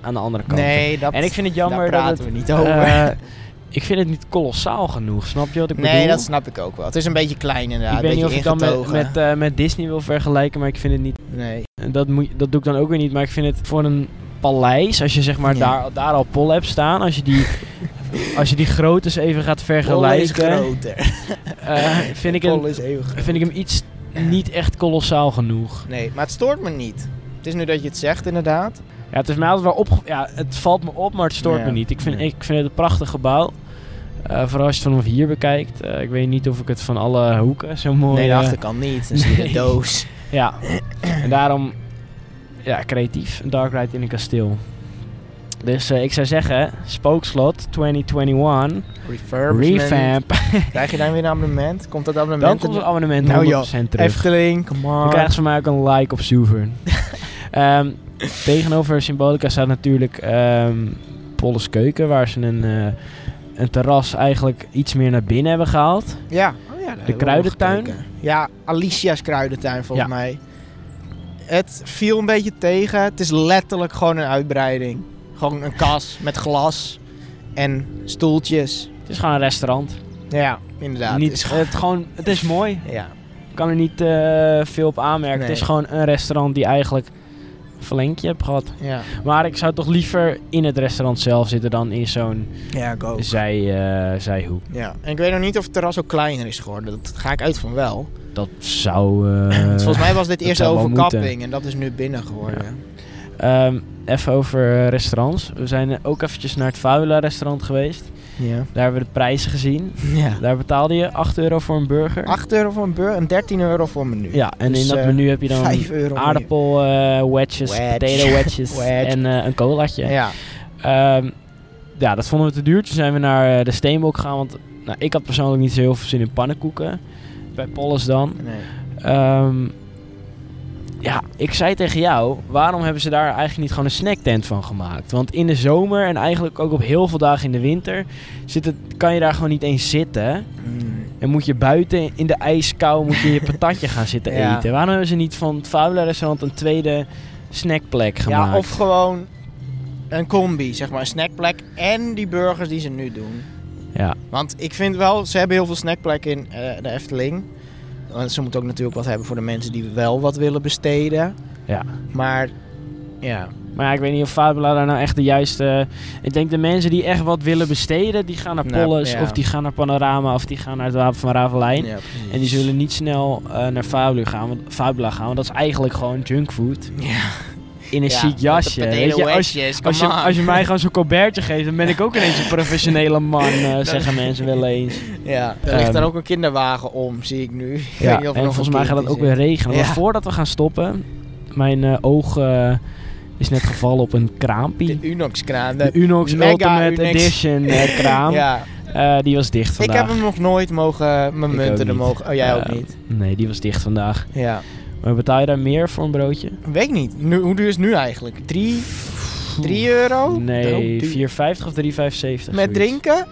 aan de andere kant. Nee, dat, en ik vind het jammer daar praten dat het, we niet over. eh, ik vind het niet kolossaal genoeg, snap je wat ik bedoel? nee, dat snap ik ook wel. Het is een beetje klein inderdaad. ik weet een niet of beetje ik dan met, ingetogen. met, eh, met Disney wil vergelijken, maar ik vind het niet. Nee. en Dat, moet, dat doe ik dan ook weer niet. Maar ik vind het voor een paleis, als je zeg maar Ja. daar, daar al Pol hebt staan, als je die, als je die groottes even gaat Pollen is vergelijken, groter. eh, vind, ik hem, Pollen is eeuwig vind ik hem iets niet echt kolossaal genoeg. Nee, maar het stoort me niet. Het is nu dat je het zegt, inderdaad. Ja, het is mij altijd wel op. Ja, het valt me op, maar het stoort Ja. me niet. Ik vind, Nee. ik vind het een prachtig gebouw. Eh, vooral als je het vanaf hier bekijkt. Eh, ik weet niet of ik het van alle hoeken zo mooi. nee, de eh, achterkant niet. Dan zie je de nee. doos. ja. En daarom, ja, creatief. Een dark ride in een kasteel. Dus eh, ik zou zeggen, Spookslot 2021, Refurbishment. revamp. Krijg je dan weer een abonnement? Komt dat abonnement? Dan komt het abonnement Nou 100% joh, terug. Efteling, come on. Dan krijgen ze van mij ook een like op Sovereign. Ehm, tegenover Symbolica staat natuurlijk ehm Polles Keuken, waar ze een, eh, een terras eigenlijk iets meer naar binnen hebben gehaald. Ja. Oh ja daar hebben we kruidentuin. nog gekeken. Ja, Alicia's kruidentuin volgens mij. Het viel een beetje tegen. Het is letterlijk gewoon een uitbreiding. Gewoon een kas met glas en stoeltjes. Het is gewoon een restaurant. Ja, inderdaad. niet, Het is het, gewoon- gewoon, het is mooi. ja. Ik kan er niet eh, veel op aanmerken. Nee. Het is gewoon een restaurant die eigenlijk een verlengje heb gehad. Ja. Maar ik zou toch liever in het restaurant zelf zitten dan in zo'n ja, ik ook. zij, eh, zijhoek. Ja. En ik weet nog niet of het terras ook kleiner is geworden. Dat ga ik uit van wel. Dat zou... eh, Want Dus volgens mij was dit dat eerst zou wel overkapping en dat is nu binnen geworden. Ehm, even over eh, restaurants. We zijn eh, ook eventjes naar het Vuila restaurant geweest. Ja. Daar hebben we de prijzen gezien. ja. Daar betaalde je 8 euro voor een burger. 8 euro voor een burger en 13 euro voor een menu. Ja, en Dus, in dat eh, menu heb je dan 5 euro. meer. aardappel eh, wedges, Wedge. potato wedges Wedge. en eh, een colaatje. Ja. Ehm, ja, dat vonden we te duur. Toen zijn we naar eh, de Steenbok gegaan. Want nou, ik had persoonlijk niet zo heel veel zin in pannenkoeken. Bij Polles dan. Nee. Ehm, ja, ik zei tegen jou, waarom hebben ze daar eigenlijk niet gewoon een snacktent van gemaakt? Want in de zomer en eigenlijk ook op heel veel dagen in de winter zit het, kan je daar gewoon niet eens zitten. Mm. En moet je buiten in de ijskou moet je je patatje gaan zitten Ja. eten. Waarom hebben ze niet van het Fabula restaurant een tweede snackplek gemaakt? Ja, of gewoon een combi, zeg maar. Een snackplek en die burgers die ze nu doen. Ja. Want ik vind wel, ze hebben heel veel snackplekken in eh, de Efteling. Want ze moeten ook natuurlijk wat hebben voor de mensen die wel wat willen besteden. Ja. Maar, ja. Maar ja, ik weet niet of Fabula daar nou echt de juiste... Ik denk de mensen die echt wat willen besteden, die gaan naar Nou, Polles ja. of die gaan naar Panorama of die gaan naar het Wapen van Ravelijn. ja En die zullen niet snel eh, naar Fabula gaan, want, Fabula gaan, want dat is eigenlijk gewoon junkfood Ja. in een Ja, chic met de jasje. potato Weet je, als, wedges, als, je, come on. als je mij gewoon zo'n colbertje geeft, dan ben ik ook ineens een professionele man, eh, zeggen mensen wel eens. Ja, er Ehm, ligt daar ook een kinderwagen om, zie ik nu. Ik weet Ja, niet en of er nog volgens een mij gaat kind het ook is, weer regenen. Ja. Maar voordat we gaan stoppen, mijn eh, oog eh, is net gevallen op een kraampie. hè. De Unox-kraan. De de- Unox Mega Ultimate Unox. Edition eh, kraam, ja, Eh, die was dicht vandaag. ik heb hem nog nooit mogen, mijn Ik ook munten er niet. mogen... Oh, jij ook Eh, niet? Nee, die was dicht vandaag. Ja. Maar betaal je daar meer voor een broodje? Weet ik niet. Nu, hoe duur is het nu eigenlijk? 3 3 euro? Nee, Oh, duur. 4,50 of 3,75. zoiets. Met drinken?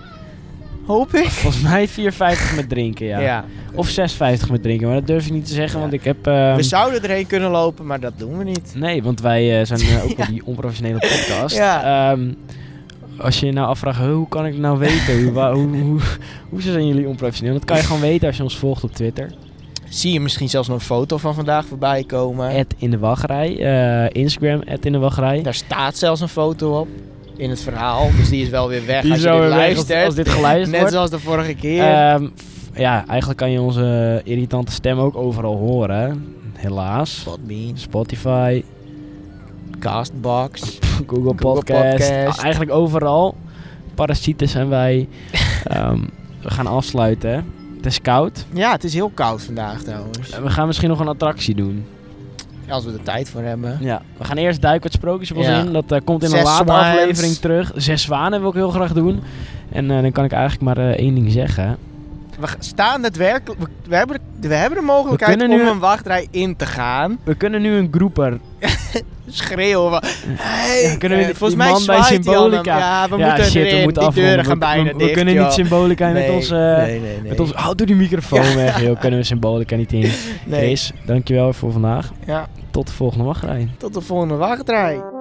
Hoop ik. Volgens mij 4,50 met drinken, ja. Of 6,50 met drinken, maar dat durf ik niet te zeggen, Ja. want ik heb... ehm, we zouden erheen kunnen lopen, maar dat doen we niet. Nee, want wij eh, zijn eh, ook op die onprofessionele podcast. Ja. Ehm, als je je nou afvraagt, "Huh, hoe kan ik nou weten? hoe, waar- hoe, hoe, hoe zijn jullie onprofessioneel? Dat kan je gewoon weten als je ons volgt op Twitter. Zie je misschien zelfs nog een foto van vandaag voorbij komen. At in de wachtrij. eh, Instagram, at in de wachtrij. Daar staat zelfs een foto op. In het verhaal. Dus die is wel weer weg Die als je zou dit weer weg als- luistert. als dit geluisterd Net wordt. zoals de vorige keer. Ehm, f- ja, eigenlijk kan je onze irritante stem ook overal horen. Helaas. Podbean, Spotify, Castbox. Google Podcast. Podcast. Ah, Eigenlijk overal. Parasieten zijn wij. Ehm, we gaan afsluiten. hè. Het is koud. Ja, het is heel koud vandaag trouwens. Eh, We gaan misschien nog een attractie doen. Als we er tijd voor hebben. Ja. We gaan eerst duiken wat sprookjes op ons Ja. in. Dat eh, komt in een Zes later zwaans. aflevering terug. Zes zwanen wil ik heel graag doen. En eh, dan kan ik eigenlijk maar eh, één ding zeggen. We g- staan daadwerkelijk... We, we hebben, de- we hebben de mogelijkheid om kunnen nu- een wachtrij in te gaan. We kunnen nu een groeper. schreeuwen. van, Hey, Ja, kunnen we Eh, die- volgens die mij man bij zwaait hij al Symbolica. hem. Ja, we ja, moeten shit, erin. we moeten die afronden. deuren We- gaan bijna we, dicht. we kunnen joh. niet symbolica Nee, met ons... eh, nee, nee, nee. Met ons, oh, doe die microfoon weg, joh. Kunnen we symbolica niet in. Nee. Chris, dankjewel voor vandaag. Ja, Tot de volgende wachtrij. tot de volgende wachtrij.